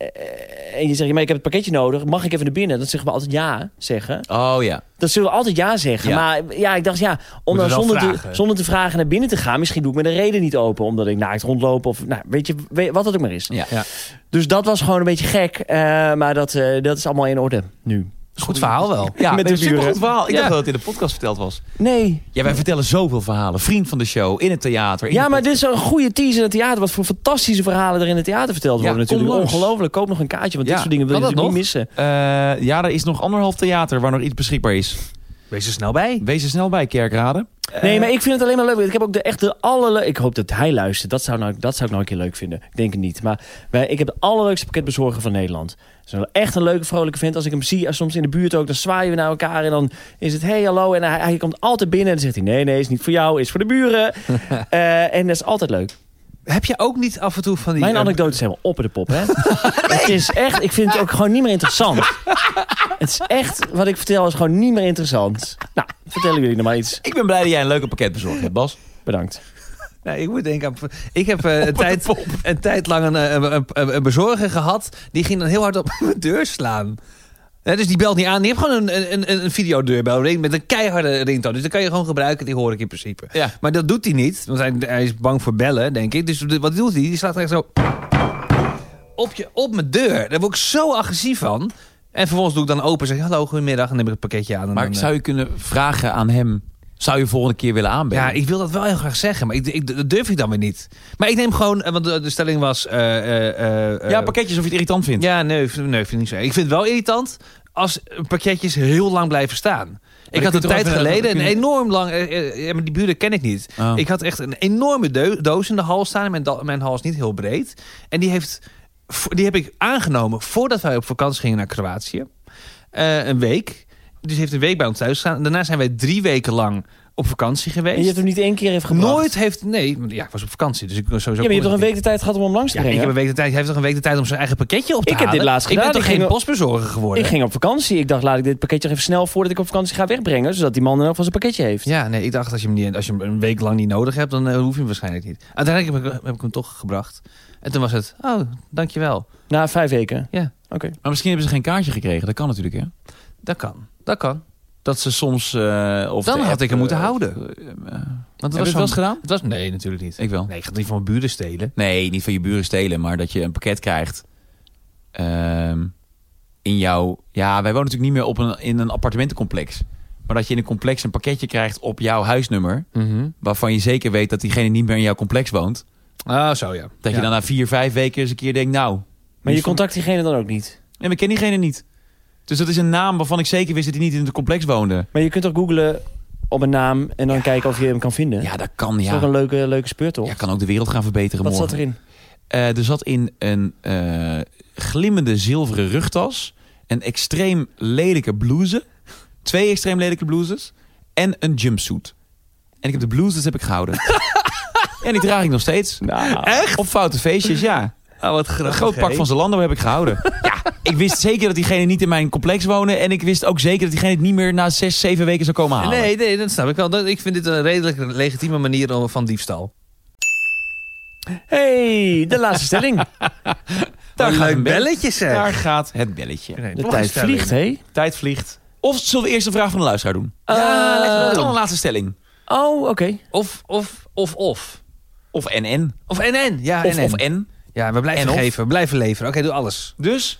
S1: en je zegt, ja, maar ik heb het pakketje nodig. Mag ik even naar binnen? Dan zeggen we altijd ja zeggen.
S2: Oh ja.
S1: Dat zullen we altijd ja zeggen.
S2: Ja.
S1: Maar ja, ik dacht, ja, om dan
S3: Moet je wel
S1: zonder te,
S3: vragen.
S1: zonder te vragen naar binnen te gaan. Misschien doe ik me de reden niet open. Omdat ik naakt rondloop of nou, weet je, weet- wat het ook maar is.
S2: Ja.
S3: Ja.
S1: Dus dat was gewoon een beetje gek. eh, maar dat, eh, dat is allemaal in orde nu.
S3: Goed verhaal wel.
S2: Ja,
S1: Met
S2: met
S1: de
S2: een supergoed
S1: buren.
S2: verhaal. Ik
S3: Ja.
S2: dacht dat het in de podcast verteld was.
S1: Nee,
S2: Ja, wij vertellen zoveel verhalen. Vriend van de show, in het theater. in
S1: Ja,
S2: de
S1: maar dit is een goede teaser in het theater. Wat voor fantastische verhalen er in het theater verteld worden
S2: Ja,
S1: natuurlijk.
S2: kom langs.
S1: Ongelooflijk. Koop nog een kaartje, want
S2: Ja,
S1: dit soort dingen wil je
S3: kan dat
S1: natuurlijk niet missen.
S2: Eh, ja, er is nog anderhalf theater waar nog iets beschikbaar is.
S3: Wees er snel bij.
S2: Wees er snel bij, Kerkrade.
S3: Eh,
S1: Nee, maar ik vind het alleen maar leuk. Ik heb ook de echt de allerleukste... Ik hoop dat hij luistert. Dat zou, nou, dat zou ik nou een keer leuk vinden. Ik denk het niet. Maar wij, ik heb de allerleukste pakketbezorger van Nederland. Het is wel echt een leuke, vrolijke vent. Als ik hem zie, als soms in de buurt ook, dan zwaaien we naar elkaar. En dan is het, hey, hallo. En hij, hij komt altijd binnen en dan zegt hij... Nee, nee, is niet voor jou, is voor de buren. Eh, en dat is altijd leuk.
S3: Heb je ook niet af en toe van die...
S1: Mijn
S3: eh,
S1: anekdote is helemaal op in de pop, hè? Het is echt, ik vind het ook gewoon niet meer interessant. Het is echt, wat ik vertel is gewoon niet meer interessant. Nou, vertellen jullie nog maar iets.
S2: Ik ben blij dat jij een leuke pakket bezorgd hebt, Bas.
S1: Bedankt.
S3: Nou, ik moet denken aan... Ik heb eh, een, tijd, een tijd lang een, eh, een, een- een bezorger gehad. Die ging dan heel hard op mijn deur slaan. Hè, dus die belt niet aan. Die heeft gewoon een, een, een, een videodeurbel ring met een keiharde ringtoon. Dus dat kan je gewoon gebruiken. Die hoor ik in principe.
S2: Ja.
S3: Maar dat doet hij niet. Want hij, hij is bang voor bellen, denk ik. Dus wat doet hij? Die slaat echt zo... Op, je, op mijn deur. Daar word ik zo agressief van. En vervolgens doe ik dan open en zeg ik, hallo, goedemiddag. En neem ik het pakketje aan. En
S2: Maar
S3: dan,
S2: ik
S3: eh,
S2: zou je kunnen vragen aan hem... Zou je volgende keer willen aanbellen?
S3: eh, ja, ik wil dat wel heel graag zeggen, maar ik, ik, dat durf ik dan weer niet. Maar ik neem gewoon, eh, want de, de stelling was... eh, eh, eh, eh,
S2: ja, pakketjes of je het irritant vindt.
S3: Ja, nee, v- nee, vind ik niet zo. Ik vind het wel irritant als pakketjes heel lang blijven staan.
S2: dan
S3: Ik had
S2: kun
S3: een
S2: je toch
S3: tijd
S2: even-
S3: geleden
S2: dan
S3: een
S2: kun je-
S3: enorm lang... eh, eh, ja, maar die buren ken ik niet.
S2: Oh.
S3: Ik had echt een enorme deu- doos in de hal staan. en Mijn, da- mijn hal is niet heel breed. En die heeft vo- die heb ik aangenomen voordat wij op vakantie gingen naar Kroatië. Eh, een week. Dus heeft een week bij ons thuis gestaan. Daarna zijn wij drie weken lang op vakantie geweest.
S1: En je hebt hem niet één keer even gebracht.
S3: Nooit heeft... Nee, want ja, ik was op vakantie. Dus ik kon sowieso...
S1: Ja, maar je hebt
S3: kon
S1: toch een
S3: ik
S1: week de tijd gehad om hem langs te
S3: niet. Ja, ik
S1: brengen?
S3: heb een week de tijd. Hij heeft toch een week de tijd om zijn eigen pakketje op te
S1: Ik heb dit
S3: halen?
S1: laatst
S3: Ik ben
S1: gedaan.
S3: toch
S1: Ik
S3: geen
S1: ging-
S3: postbezorger geworden?
S1: Ik ging op vakantie. Ik dacht, laat ik dit pakketje nog even snel voordat ik op vakantie ga wegbrengen. Zodat die man dan ook van zijn pakketje heeft.
S3: Ja, nee, ik dacht als je hem, niet, als je hem een week lang niet nodig hebt, dan eh, hoef je hem waarschijnlijk niet. Uiteindelijk heb ik, heb ik hem toch gebracht. En toen was het, oh, dankjewel.
S1: Na vijf weken.
S3: Ja.
S1: Oké.
S2: Maar misschien hebben ze geen kaartje gekregen. Dat kan natuurlijk, hè?
S3: Dat kan, dat kan.
S2: Dat ze soms... eh, of
S3: Dan
S2: de
S3: had
S2: app,
S3: ik hem moeten
S2: eh,
S3: houden.
S2: eh, eh,
S3: Want
S2: Heb je het wel eens
S3: zo'n-
S2: gedaan?
S3: Het was, nee, natuurlijk niet.
S2: Ik wel.
S3: Nee, ik ga het niet van mijn buren stelen.
S2: Nee, niet van je buren stelen, maar dat je een pakket krijgt. ehm, in jouw. Ja, wij wonen natuurlijk niet meer op een, in een appartementencomplex. Maar dat je in een complex een pakketje krijgt op jouw huisnummer. Waarvan je zeker weet dat diegene niet meer in jouw complex woont.
S3: Ah, zo ja.
S2: Dat
S3: Ja.
S2: je dan na vier, vijf weken eens een keer denkt: Nou.
S1: Maar je
S2: dus-
S1: contact diegene dan ook niet?
S2: Nee, we kennen diegene niet. Dus dat is een naam waarvan ik zeker wist dat hij niet in het complex woonde.
S1: Maar je kunt toch googlen op een naam en dan kijken of je hem kan vinden?
S2: Ja, dat kan.
S1: Dat is toch
S2: Ja.
S1: een leuke, leuke speurtocht?
S2: Ja, kan ook de wereld gaan verbeteren.
S1: Wat
S2: morgen.
S1: zat erin?
S2: Eh, er zat in een eh, glimmende zilveren rugtas. Een extreem lelijke blouse. Twee extreem lelijke blouses. En een jumpsuit. En ik heb de blouses heb ik gehouden. en die draag ik nog steeds. Echt? Nou, Op foute feestjes, ja.
S3: Ah, wat
S2: Een
S3: grappig.
S2: groot pak
S3: hè?
S2: van Zalando heb ik gehouden. ja, ik wist zeker dat diegene niet in mijn complex woonde. En ik wist ook zeker dat diegene het niet meer na zes, zeven weken zou komen halen.
S3: Nee, nee, dat snap ik wel. Dat- Ik vind dit een redelijk legitieme manier om- van diefstal.
S1: hey, de laatste stelling.
S2: Daar
S3: Wat
S2: gaat,
S3: leuk
S2: een bel-
S3: belletjes zeg.
S2: daar gaat het belletje.
S3: Nee,
S1: De
S3: nog
S1: tijd
S3: een stelling.
S1: vliegt, hé.
S2: Tijd vliegt. Of zullen we eerst de vraag van de luisteraar doen? Ah,
S1: Eh,
S2: dan een laatste stelling.
S1: Oh, oké.
S3: Of, of, of, of.
S2: Of NN.
S3: Of en en. Ja,
S2: Of,
S3: en en.
S2: of N.
S3: Ja, we blijven
S2: En of.
S3: geven. We blijven leveren. Oké, doe alles.
S2: Dus?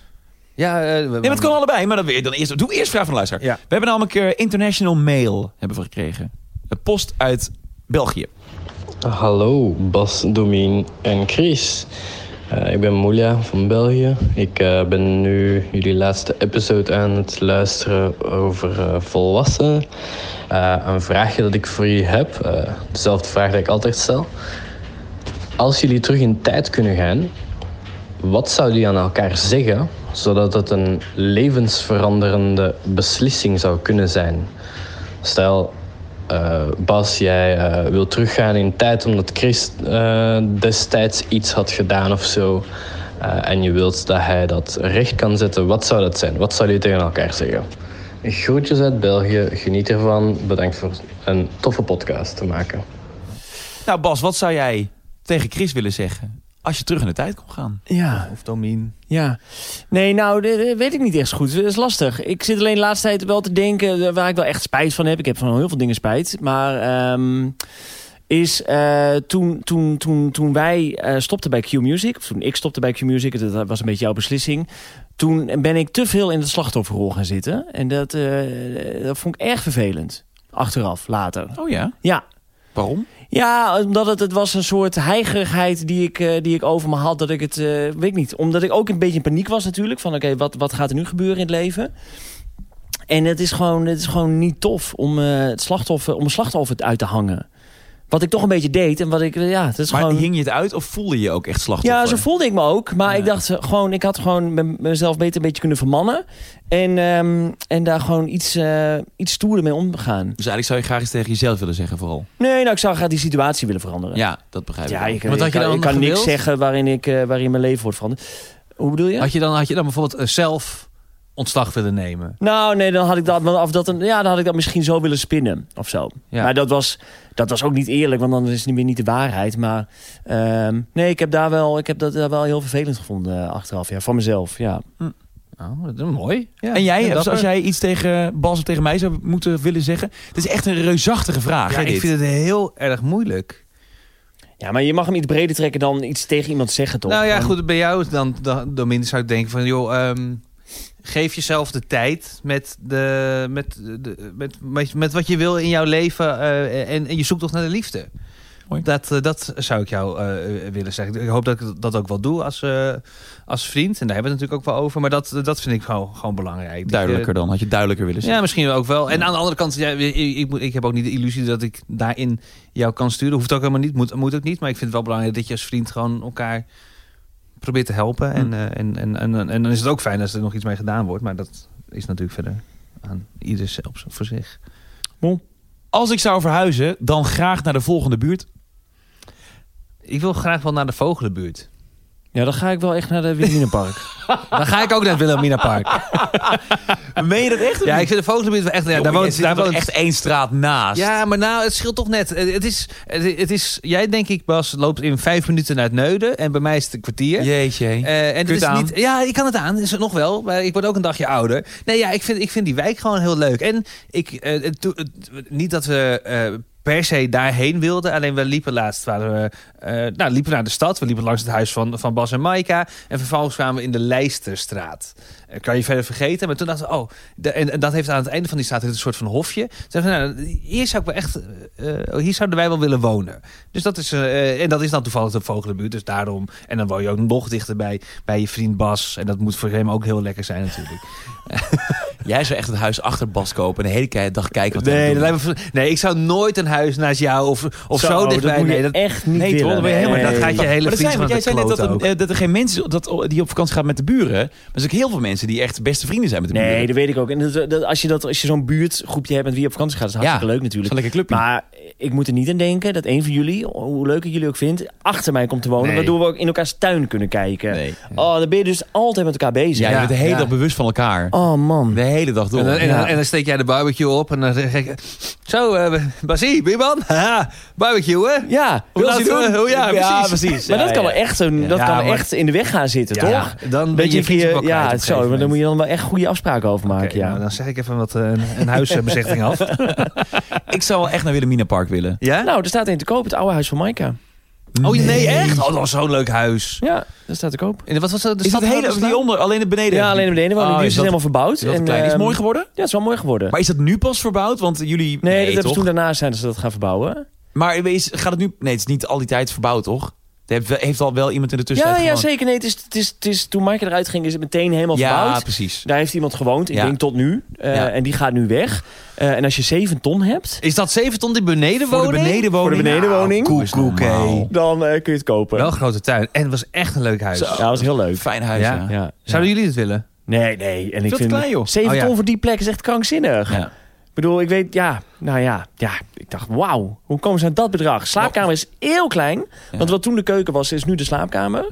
S3: Ja, eh, we-
S2: Nee, maar het kan allebei. Maar dan, weer- dan eerst, doe eerst vraag van de luisteraar.
S3: Ja.
S2: We hebben namelijk eh, international mail hebben we gekregen. Een post uit België.
S6: Hallo Bas, Domien en Chris. Eh, ik ben Moelia van België. Ik eh, ben nu jullie laatste episode aan het luisteren over eh, volwassenen. Eh, een vraagje dat ik voor jullie heb, eh, dezelfde vraag die ik altijd stel. Als jullie terug in tijd kunnen gaan, wat zouden jullie aan elkaar zeggen zodat het een levensveranderende beslissing zou kunnen zijn? Stel, eh, Bas, jij eh, wil teruggaan in tijd omdat Chris eh, destijds iets had gedaan of zo. eh, en je wilt dat hij dat recht kan zetten. Wat zou dat zijn? Wat zou je tegen elkaar zeggen? Groetjes uit België, geniet ervan. Bedankt voor een toffe podcast te maken.
S2: Nou Bas, wat zou jij tegen Chris willen zeggen? Als je terug in de tijd kon gaan.
S1: Ja,
S3: Of Domien.
S1: ja. Nee, nou, dat dat weet ik niet echt zo goed. Dat is lastig. Ik zit alleen de laatste tijd wel te denken eh, waar ik wel echt spijt van heb. Ik heb van heel veel dingen spijt. Maar ehm, is eh, toen, toen, toen, toen wij eh, stopten bij Q-Music... of toen ik stopte bij Q-Music, dat was een beetje jouw beslissing... toen ben ik te veel in de slachtofferrol gaan zitten. En dat, eh, dat vond ik erg vervelend. Achteraf, later.
S2: Oh ja?
S1: Ja,
S2: Waarom?
S1: Ja, omdat het, het was een soort heigerigheid die ik, eh, die ik over me had. Dat ik het, eh, weet ik niet. Omdat ik ook een beetje in paniek was natuurlijk. Van oké, wat, wat gaat er nu gebeuren in het leven? En het is gewoon, het is gewoon niet tof om, eh, het slachtoffer, om een slachtoffer uit te hangen. Wat ik toch een beetje deed. En wat ik, ja, het is
S2: Maar
S1: gewoon...
S2: hing je het uit of voelde je je ook echt slachtoffer?
S1: Ja, zo voelde ik me ook. Maar ik dacht eh, gewoon, ik had gewoon me- mezelf beter een beetje kunnen vermannen. En, ehm, en daar gewoon iets, eh, iets stoerder mee omgaan.
S2: Dus eigenlijk zou je graag eens tegen jezelf willen zeggen vooral.
S1: Nee, nou, ik zou graag die situatie willen veranderen.
S2: Ja, dat begrijp ik.
S1: Ja,
S2: wel.
S1: ik,
S3: Wat had
S1: ik
S3: je
S1: kan,
S3: dan
S1: ik kan niks
S3: gewild?
S1: zeggen waarin, ik, eh, waarin mijn leven wordt veranderd. Hoe bedoel je?
S3: Had, je dan, had je dan bijvoorbeeld eh, zelf ontslag willen nemen?
S1: Nou, nee, dan had ik dat, want of dat een, ja, dan had ik dat misschien zo willen spinnen of zo.
S3: Ja.
S1: Maar dat was, dat was ook niet eerlijk, want dan is het niet meer niet de waarheid. Maar ehm, nee, ik heb, daar wel, ik heb dat daar wel heel vervelend gevonden eh, achteraf. Ja, van mezelf, ja.
S3: Oh, dat is mooi. Ja,
S2: En jij,
S3: ja,
S2: als
S3: dapper.
S2: jij iets tegen Bas of tegen mij zou moeten willen zeggen. Het is echt een reusachtige vraag.
S3: Ja,
S2: hè,
S3: ik
S2: dit?
S3: vind het heel erg moeilijk.
S1: Ja, maar je mag hem iets breder trekken dan iets tegen iemand zeggen, toch?
S3: Nou ja,
S1: Van-
S3: goed, bij jou dan, dan, Domien, zou ik denken van... joh, ehm, geef jezelf de tijd met, de, met, de, met, met, met wat je wil in jouw leven... eh, en, en je zoekt toch naar de liefde.
S2: Mooi.
S3: Dat, eh, dat zou ik jou eh, willen zeggen. Ik hoop dat ik dat ook wel doe als, eh, als vriend. En daar hebben we het natuurlijk ook wel over. Maar dat, dat vind ik gewoon, gewoon belangrijk. Dat je-
S2: Duidelijker dan. Had je duidelijker willen zeggen.
S3: Ja, misschien ook wel. En aan de andere kant, Dus ja, ik, ik, moet- ik heb ook niet de illusie dat ik daarin jou kan sturen. Hoeft ook helemaal niet, moet, moet ook niet. Maar ik vind het wel belangrijk dat je als vriend gewoon elkaar probeert te helpen. En, eh, en, en, en, en dan is het ook fijn als er nog iets mee gedaan wordt. Maar dat is natuurlijk verder aan ieder zelfs voor zich.
S2: Als ik zou verhuizen, dan graag naar de volgende buurt.
S3: Ik wil graag wel naar de Vogelenbuurt.
S1: Ja, dan ga ik wel echt naar de Wilhelminapark.
S3: Dan ga ik ook naar het Wilhelmina Park.
S2: Meen je dat echt?
S3: Ja, ik vind de Vogelenbuurt wel echt... Ja, daar
S2: Jongen, je
S3: woont,
S2: zit
S3: daar
S2: toch
S3: woont
S2: echt één straat naast.
S3: Ja, maar nou, het scheelt toch net. Het het is, het het is, jij denk ik, Bas, loopt in vijf minuten naar het Neuden. En bij mij is het een kwartier.
S2: Jeetje.
S3: Eh, en
S2: Kun
S3: dit
S2: je
S3: is
S2: het aan?
S3: niet, ja, ik kan het aan. Is het nog wel. Maar ik word ook een dagje ouder. Nee, ja, ik vind, ik vind die wijk gewoon heel leuk. En ik, eh, het doe- het- niet dat we eh, per se daarheen wilden. Alleen we liepen laatst. Waren we, eh, nou, liepen naar de stad. We liepen langs het huis van, van Bas en Maika. En vervolgens kwamen we in de Leisterstraat. Eh, kan je verder vergeten. Maar toen dachten we, oh, de- en, en dat heeft aan het einde van die straat een soort van hofje. Toen dachten we, nou, hier zou ik wel echt, eh, hier zouden wij wel willen wonen. Dus dat is, eh, en dat is dan toevallig de Vogelenbuurt, dus daarom. En dan woon je ook nog dichter bij, bij je vriend Bas. En dat moet voor hem ook heel lekker zijn natuurlijk.
S2: Jij zou echt het huis achter Bas kopen en de hele ke- dag kijken wat hij
S3: Nee,
S2: doet.
S3: dat lijkt me, ver- nee, ik zou nooit een huis naast jou of, of zo, dichtbij.
S1: Dat moet je
S3: nee, dat,
S1: echt niet
S2: Nee,
S1: willen.
S2: toch? Dat ben je helemaal-
S3: maar dat gaat je hele
S2: Maar er
S3: vriend
S2: zijn, want jij zei net dat,
S3: dat
S2: het- eh, dat er geen mensen dat, die op vakantie gaan met de buren. Maar er zijn ook heel veel mensen die echt beste vrienden zijn met de buren.
S1: Nee, dat weet ik ook. En dat, dat- als je, dat- als je zo'n buurtgroepje hebt met wie je op vakantie gaat, is het hartstikke
S2: Ja,
S1: leuk
S2: Dat is
S1: natuurlijk.
S2: een lekker clubje.
S1: Maar ik moet er niet aan denken dat een van jullie, hoe leuk ik jullie ook vindt, achter mij komt te wonen.
S3: Nee.
S1: Waardoor we ook in elkaars tuin kunnen kijken.
S2: nee.
S1: Oh, dan ben je dus altijd met elkaar bezig.
S2: eh, Ja, je bent de hele
S3: ja.
S2: dag bewust van elkaar.
S1: Oh man.
S2: De hele dag door.
S3: En dan, en,
S1: Ja.
S3: dan, en dan steek jij de barbecue op en dan zeg ik... Zo, eh Basie, Bierman, haha, barbecue hè?
S1: Ja,
S3: Hoe
S1: wil
S3: laat
S1: ze doen?
S3: we- hoe- ja, precies.
S1: Maar dat
S2: Ja,
S1: kan
S2: ja.
S1: wel echt, een, dat
S3: Ja,
S1: kan wel
S3: maar-
S1: echt in de weg gaan zitten,
S3: Ja,
S1: toch?
S3: dan ben
S1: Weet
S3: je, je
S1: je,
S3: vriendje
S1: je,
S3: wel kwijt op
S1: ja,
S3: een
S1: zo, maar
S3: gegeven
S1: dan
S3: moment.
S1: moet je dan wel echt goede afspraken over maken.
S3: Oké,
S1: ja.
S3: nou, dan zeg ik even wat eh, een, een huisbezichting af.
S2: Ik zou wel echt naar Wilhelmina Park willen.
S3: Ja?
S1: Nou, er staat een te koop, het oude huis van Maaika.
S3: Oh nee, echt? Oh, dat was zo'n leuk huis.
S1: Ja, daar staat te koop.
S3: En wat was dat? De
S2: Is dat hele, die onder, alleen het beneden?
S1: Ja, alleen beneden, want
S2: Oh,
S1: nu is
S2: is
S1: het
S2: dat-
S1: helemaal verbouwd.
S2: Is dat klein? Is
S1: ehm,
S2: het mooi geworden?
S1: Ja, het is wel mooi geworden.
S2: Maar is dat nu pas verbouwd? Want jullie...
S1: nee, dat hebben ze
S2: toch?
S1: toen daarna zijn dat ze dat gaan verbouwen.
S2: Maar is, gaat het nu... Nee, het is niet al die tijd verbouwd, toch? Er heeft, wel- heeft al wel iemand in de
S1: Ja,
S2: tussentijd
S1: ja,
S2: gewoond.
S1: zeker. Nee, het is, het is, het is, toen Maaike eruit ging, is het meteen helemaal
S2: Ja,
S1: verbouwd.
S2: precies.
S1: Daar heeft iemand gewoond, ik
S2: Ja.
S1: denk tot nu. Eh,
S2: Ja.
S1: En die gaat nu weg. Eh, en als je 7 ton hebt,
S3: Is dat 7 ton die beneden
S2: Voor de benedenwoning.
S1: Voor de benedenwoning.
S2: Nou, koek, koek, hé.
S1: dan eh, kun je het kopen.
S3: Wel een grote tuin. En het was echt een leuk huis.
S1: Ja, dat was heel leuk.
S2: Fijn huis,
S3: Ja.
S2: ja.
S1: Ja.
S3: Zouden jullie dit willen?
S1: Nee, nee. En ik
S2: te
S1: vind
S2: klein, joh.
S1: 7
S3: Oh, ja.
S1: ton voor die plek is echt krankzinnig.
S2: Ja.
S1: Ik bedoel, ik weet, ja, nou ja, ja. Ik dacht, wauw, hoe komen ze aan dat bedrag? Slaapkamer is heel klein, want wat toen de keuken was, is nu de slaapkamer.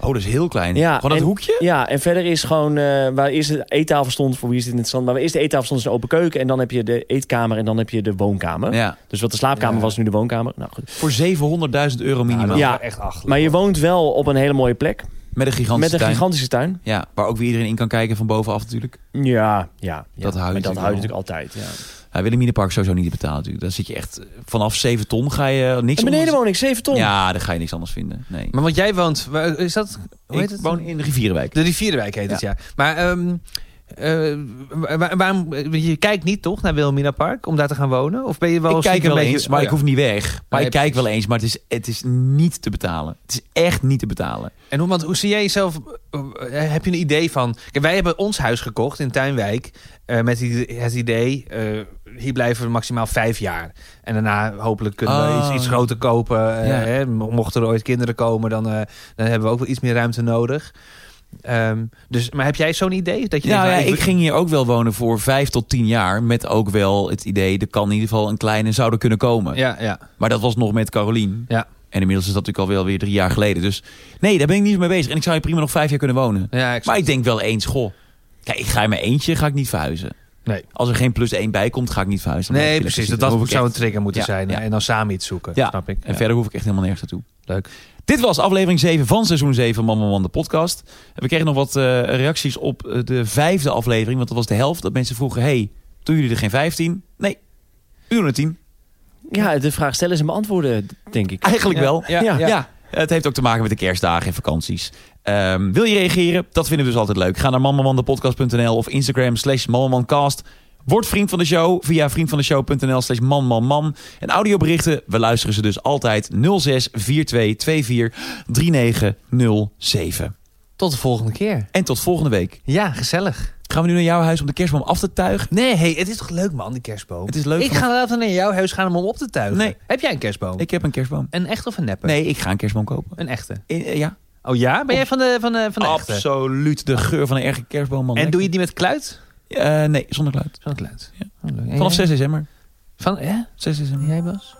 S2: Oh, dat is heel klein.
S1: Ja,
S2: Gewoon dat
S1: en-
S2: hoekje?
S1: Ja, en verder is gewoon, eh, waar eerst de eettafel stond, voor wie is dit interessant, maar waar eerst de eettafel stond is een open keuken en dan heb je de eetkamer en dan heb je de woonkamer.
S2: Ja.
S1: Dus wat de slaapkamer was, nu de woonkamer. Nou goed.
S2: Voor 700.000 euro minimaal.
S1: Ja,
S3: echt acht.
S1: Maar je woont wel op een hele mooie plek,
S2: Met een gigantische
S1: met een
S2: tuin.
S1: gigantische tuin.
S2: Ja, waar ook weer iedereen in kan kijken van bovenaf natuurlijk.
S1: Ja, ja. ja.
S2: Dat hou je
S1: Maar dat
S2: natuurlijk
S1: hou je
S2: wel.
S1: natuurlijk altijd, ja.
S2: Ja, Willeminepark sowieso niet te betalen natuurlijk. Daar zit je echt... eh, Vanaf 7 ton ga je niks
S1: Een
S2: anders-
S1: benedenwoning, 7 ton.
S2: Ja, daar ga je niks anders vinden. Nee.
S3: Maar want jij woont... waar- Is dat... Hoe heet
S2: ik
S3: het?
S2: woon in Rivierenwijk.
S3: De Rivierenwijk heet het, ja. Maar ehm, eh, waar- waarom... Je kijkt niet toch naar Wilhelmina Park om daar te gaan wonen? Of ben je wel...
S2: ik kijk
S3: stiekem
S2: wel
S3: een beetje-
S2: eens, maar
S3: Oh,
S2: ik
S3: ja.
S2: hoef niet weg. Maar
S3: Nee,
S2: ik kijk
S3: precies.
S2: wel eens, maar het is, het is niet te betalen. Het is echt niet te betalen.
S3: En hoe, want hoe zie jij jezelf? eh, Heb je een idee van. Kijk, wij hebben ons huis gekocht in Tuinwijk. eh, met die- het idee. eh, hier blijven we maximaal vijf jaar. En daarna hopelijk kunnen we
S2: Oh.
S3: iets, iets groter kopen. eh,
S2: Ja.
S3: hè, mo- mochten er ooit kinderen komen, dan, eh, dan hebben we ook wel iets meer ruimte nodig. Ehm, dus, maar heb jij zo'n idee? Dat je
S2: Nou ja,
S3: denkt, nou,
S2: ik ging hier ook wel wonen voor vijf tot tien jaar. Met ook wel het idee, er kan in ieder geval een kleine zou er kunnen komen.
S3: Ja, ja.
S2: Maar dat was nog met Carolien.
S3: Ja.
S2: En inmiddels is dat natuurlijk al wel weer drie jaar geleden. Dus nee, daar ben ik niet mee bezig. En ik zou hier prima nog vijf jaar kunnen wonen.
S3: ja ik
S2: Maar ik denk wel eens, goh. Kijk, ik ga in mijn eentje, ga ik niet verhuizen.
S3: Nee.
S2: Als er geen plus één bij komt, ga ik niet verhuizen. Dan
S3: nee,
S2: blijf ik
S3: precies. Dus Dat,
S2: lekker
S3: dat
S2: zitten.
S3: zou
S2: Dan hoef
S3: een
S2: ik echt-
S3: trigger moeten
S2: Ja,
S3: zijn.
S2: ja.
S3: En dan samen iets zoeken.
S2: Ja.
S3: Snap ik.
S2: En
S3: Ja.
S2: verder hoef ik echt helemaal nergens naartoe.
S3: Leuk.
S2: Dit was aflevering 7 van seizoen 7 van Man, Man, Man, de podcast. We kregen nog wat eh, reacties op eh, de vijfde aflevering. Want dat was de helft. Dat mensen vroegen, hey, doen jullie er geen 15? Nee, u doen er 10.
S1: Ja, de vraag stellen is en beantwoorden, denk ik.
S2: Eigenlijk
S3: Ja,
S2: wel.
S3: ja, ja.
S2: Het heeft ook te maken met de kerstdagen en vakanties. Ehm, wil je reageren? Dat vinden we dus altijd leuk. Ga naar manmanmandepodcast.nl of Instagram slash manmanmancast. Word vriend van de show via vriendvandeshow.nl slash manmanman. En audioberichten, we luisteren ze dus altijd 06 42 24 3907.
S3: Tot de volgende keer.
S2: En tot volgende week.
S3: Ja, gezellig.
S2: Gaan we nu naar jouw huis om de kerstboom af te tuigen?
S3: Nee, hey, het is toch leuk, man, die kerstboom?
S2: Het is leuk.
S3: Ik
S2: van-
S3: ga later naar jouw huis gaan om hem op te tuigen.
S2: Nee.
S3: Heb jij een kerstboom?
S2: ik heb een kerstboom.
S3: Een echte of een neppe?
S2: Nee, ik ga een kerstboom kopen.
S3: Een echte.
S2: Eh, eh, ja.
S3: Oh ja? Ben jij van de, van de, van de echte?
S2: Absoluut de geur van een erge kerstboom, man.
S3: En doe je die met kluit?
S2: Lekker. Eh, nee, zonder kluit.
S3: Van kluit. Ja.
S2: Vanaf 6 december.
S3: Van, ja?
S2: 6 december.
S3: Jij Bas?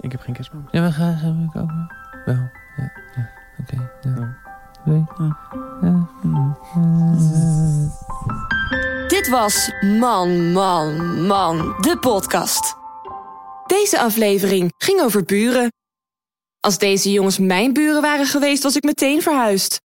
S1: Ik heb geen kerstboom.
S3: Ja, we gaan we kopen. Wel. Ja. ja. Oké. Ja. Nee. Ja.
S4: Dit was Man, Man, Man, de podcast. Deze aflevering ging over buren. Als deze jongens mijn buren waren geweest, was ik meteen verhuisd.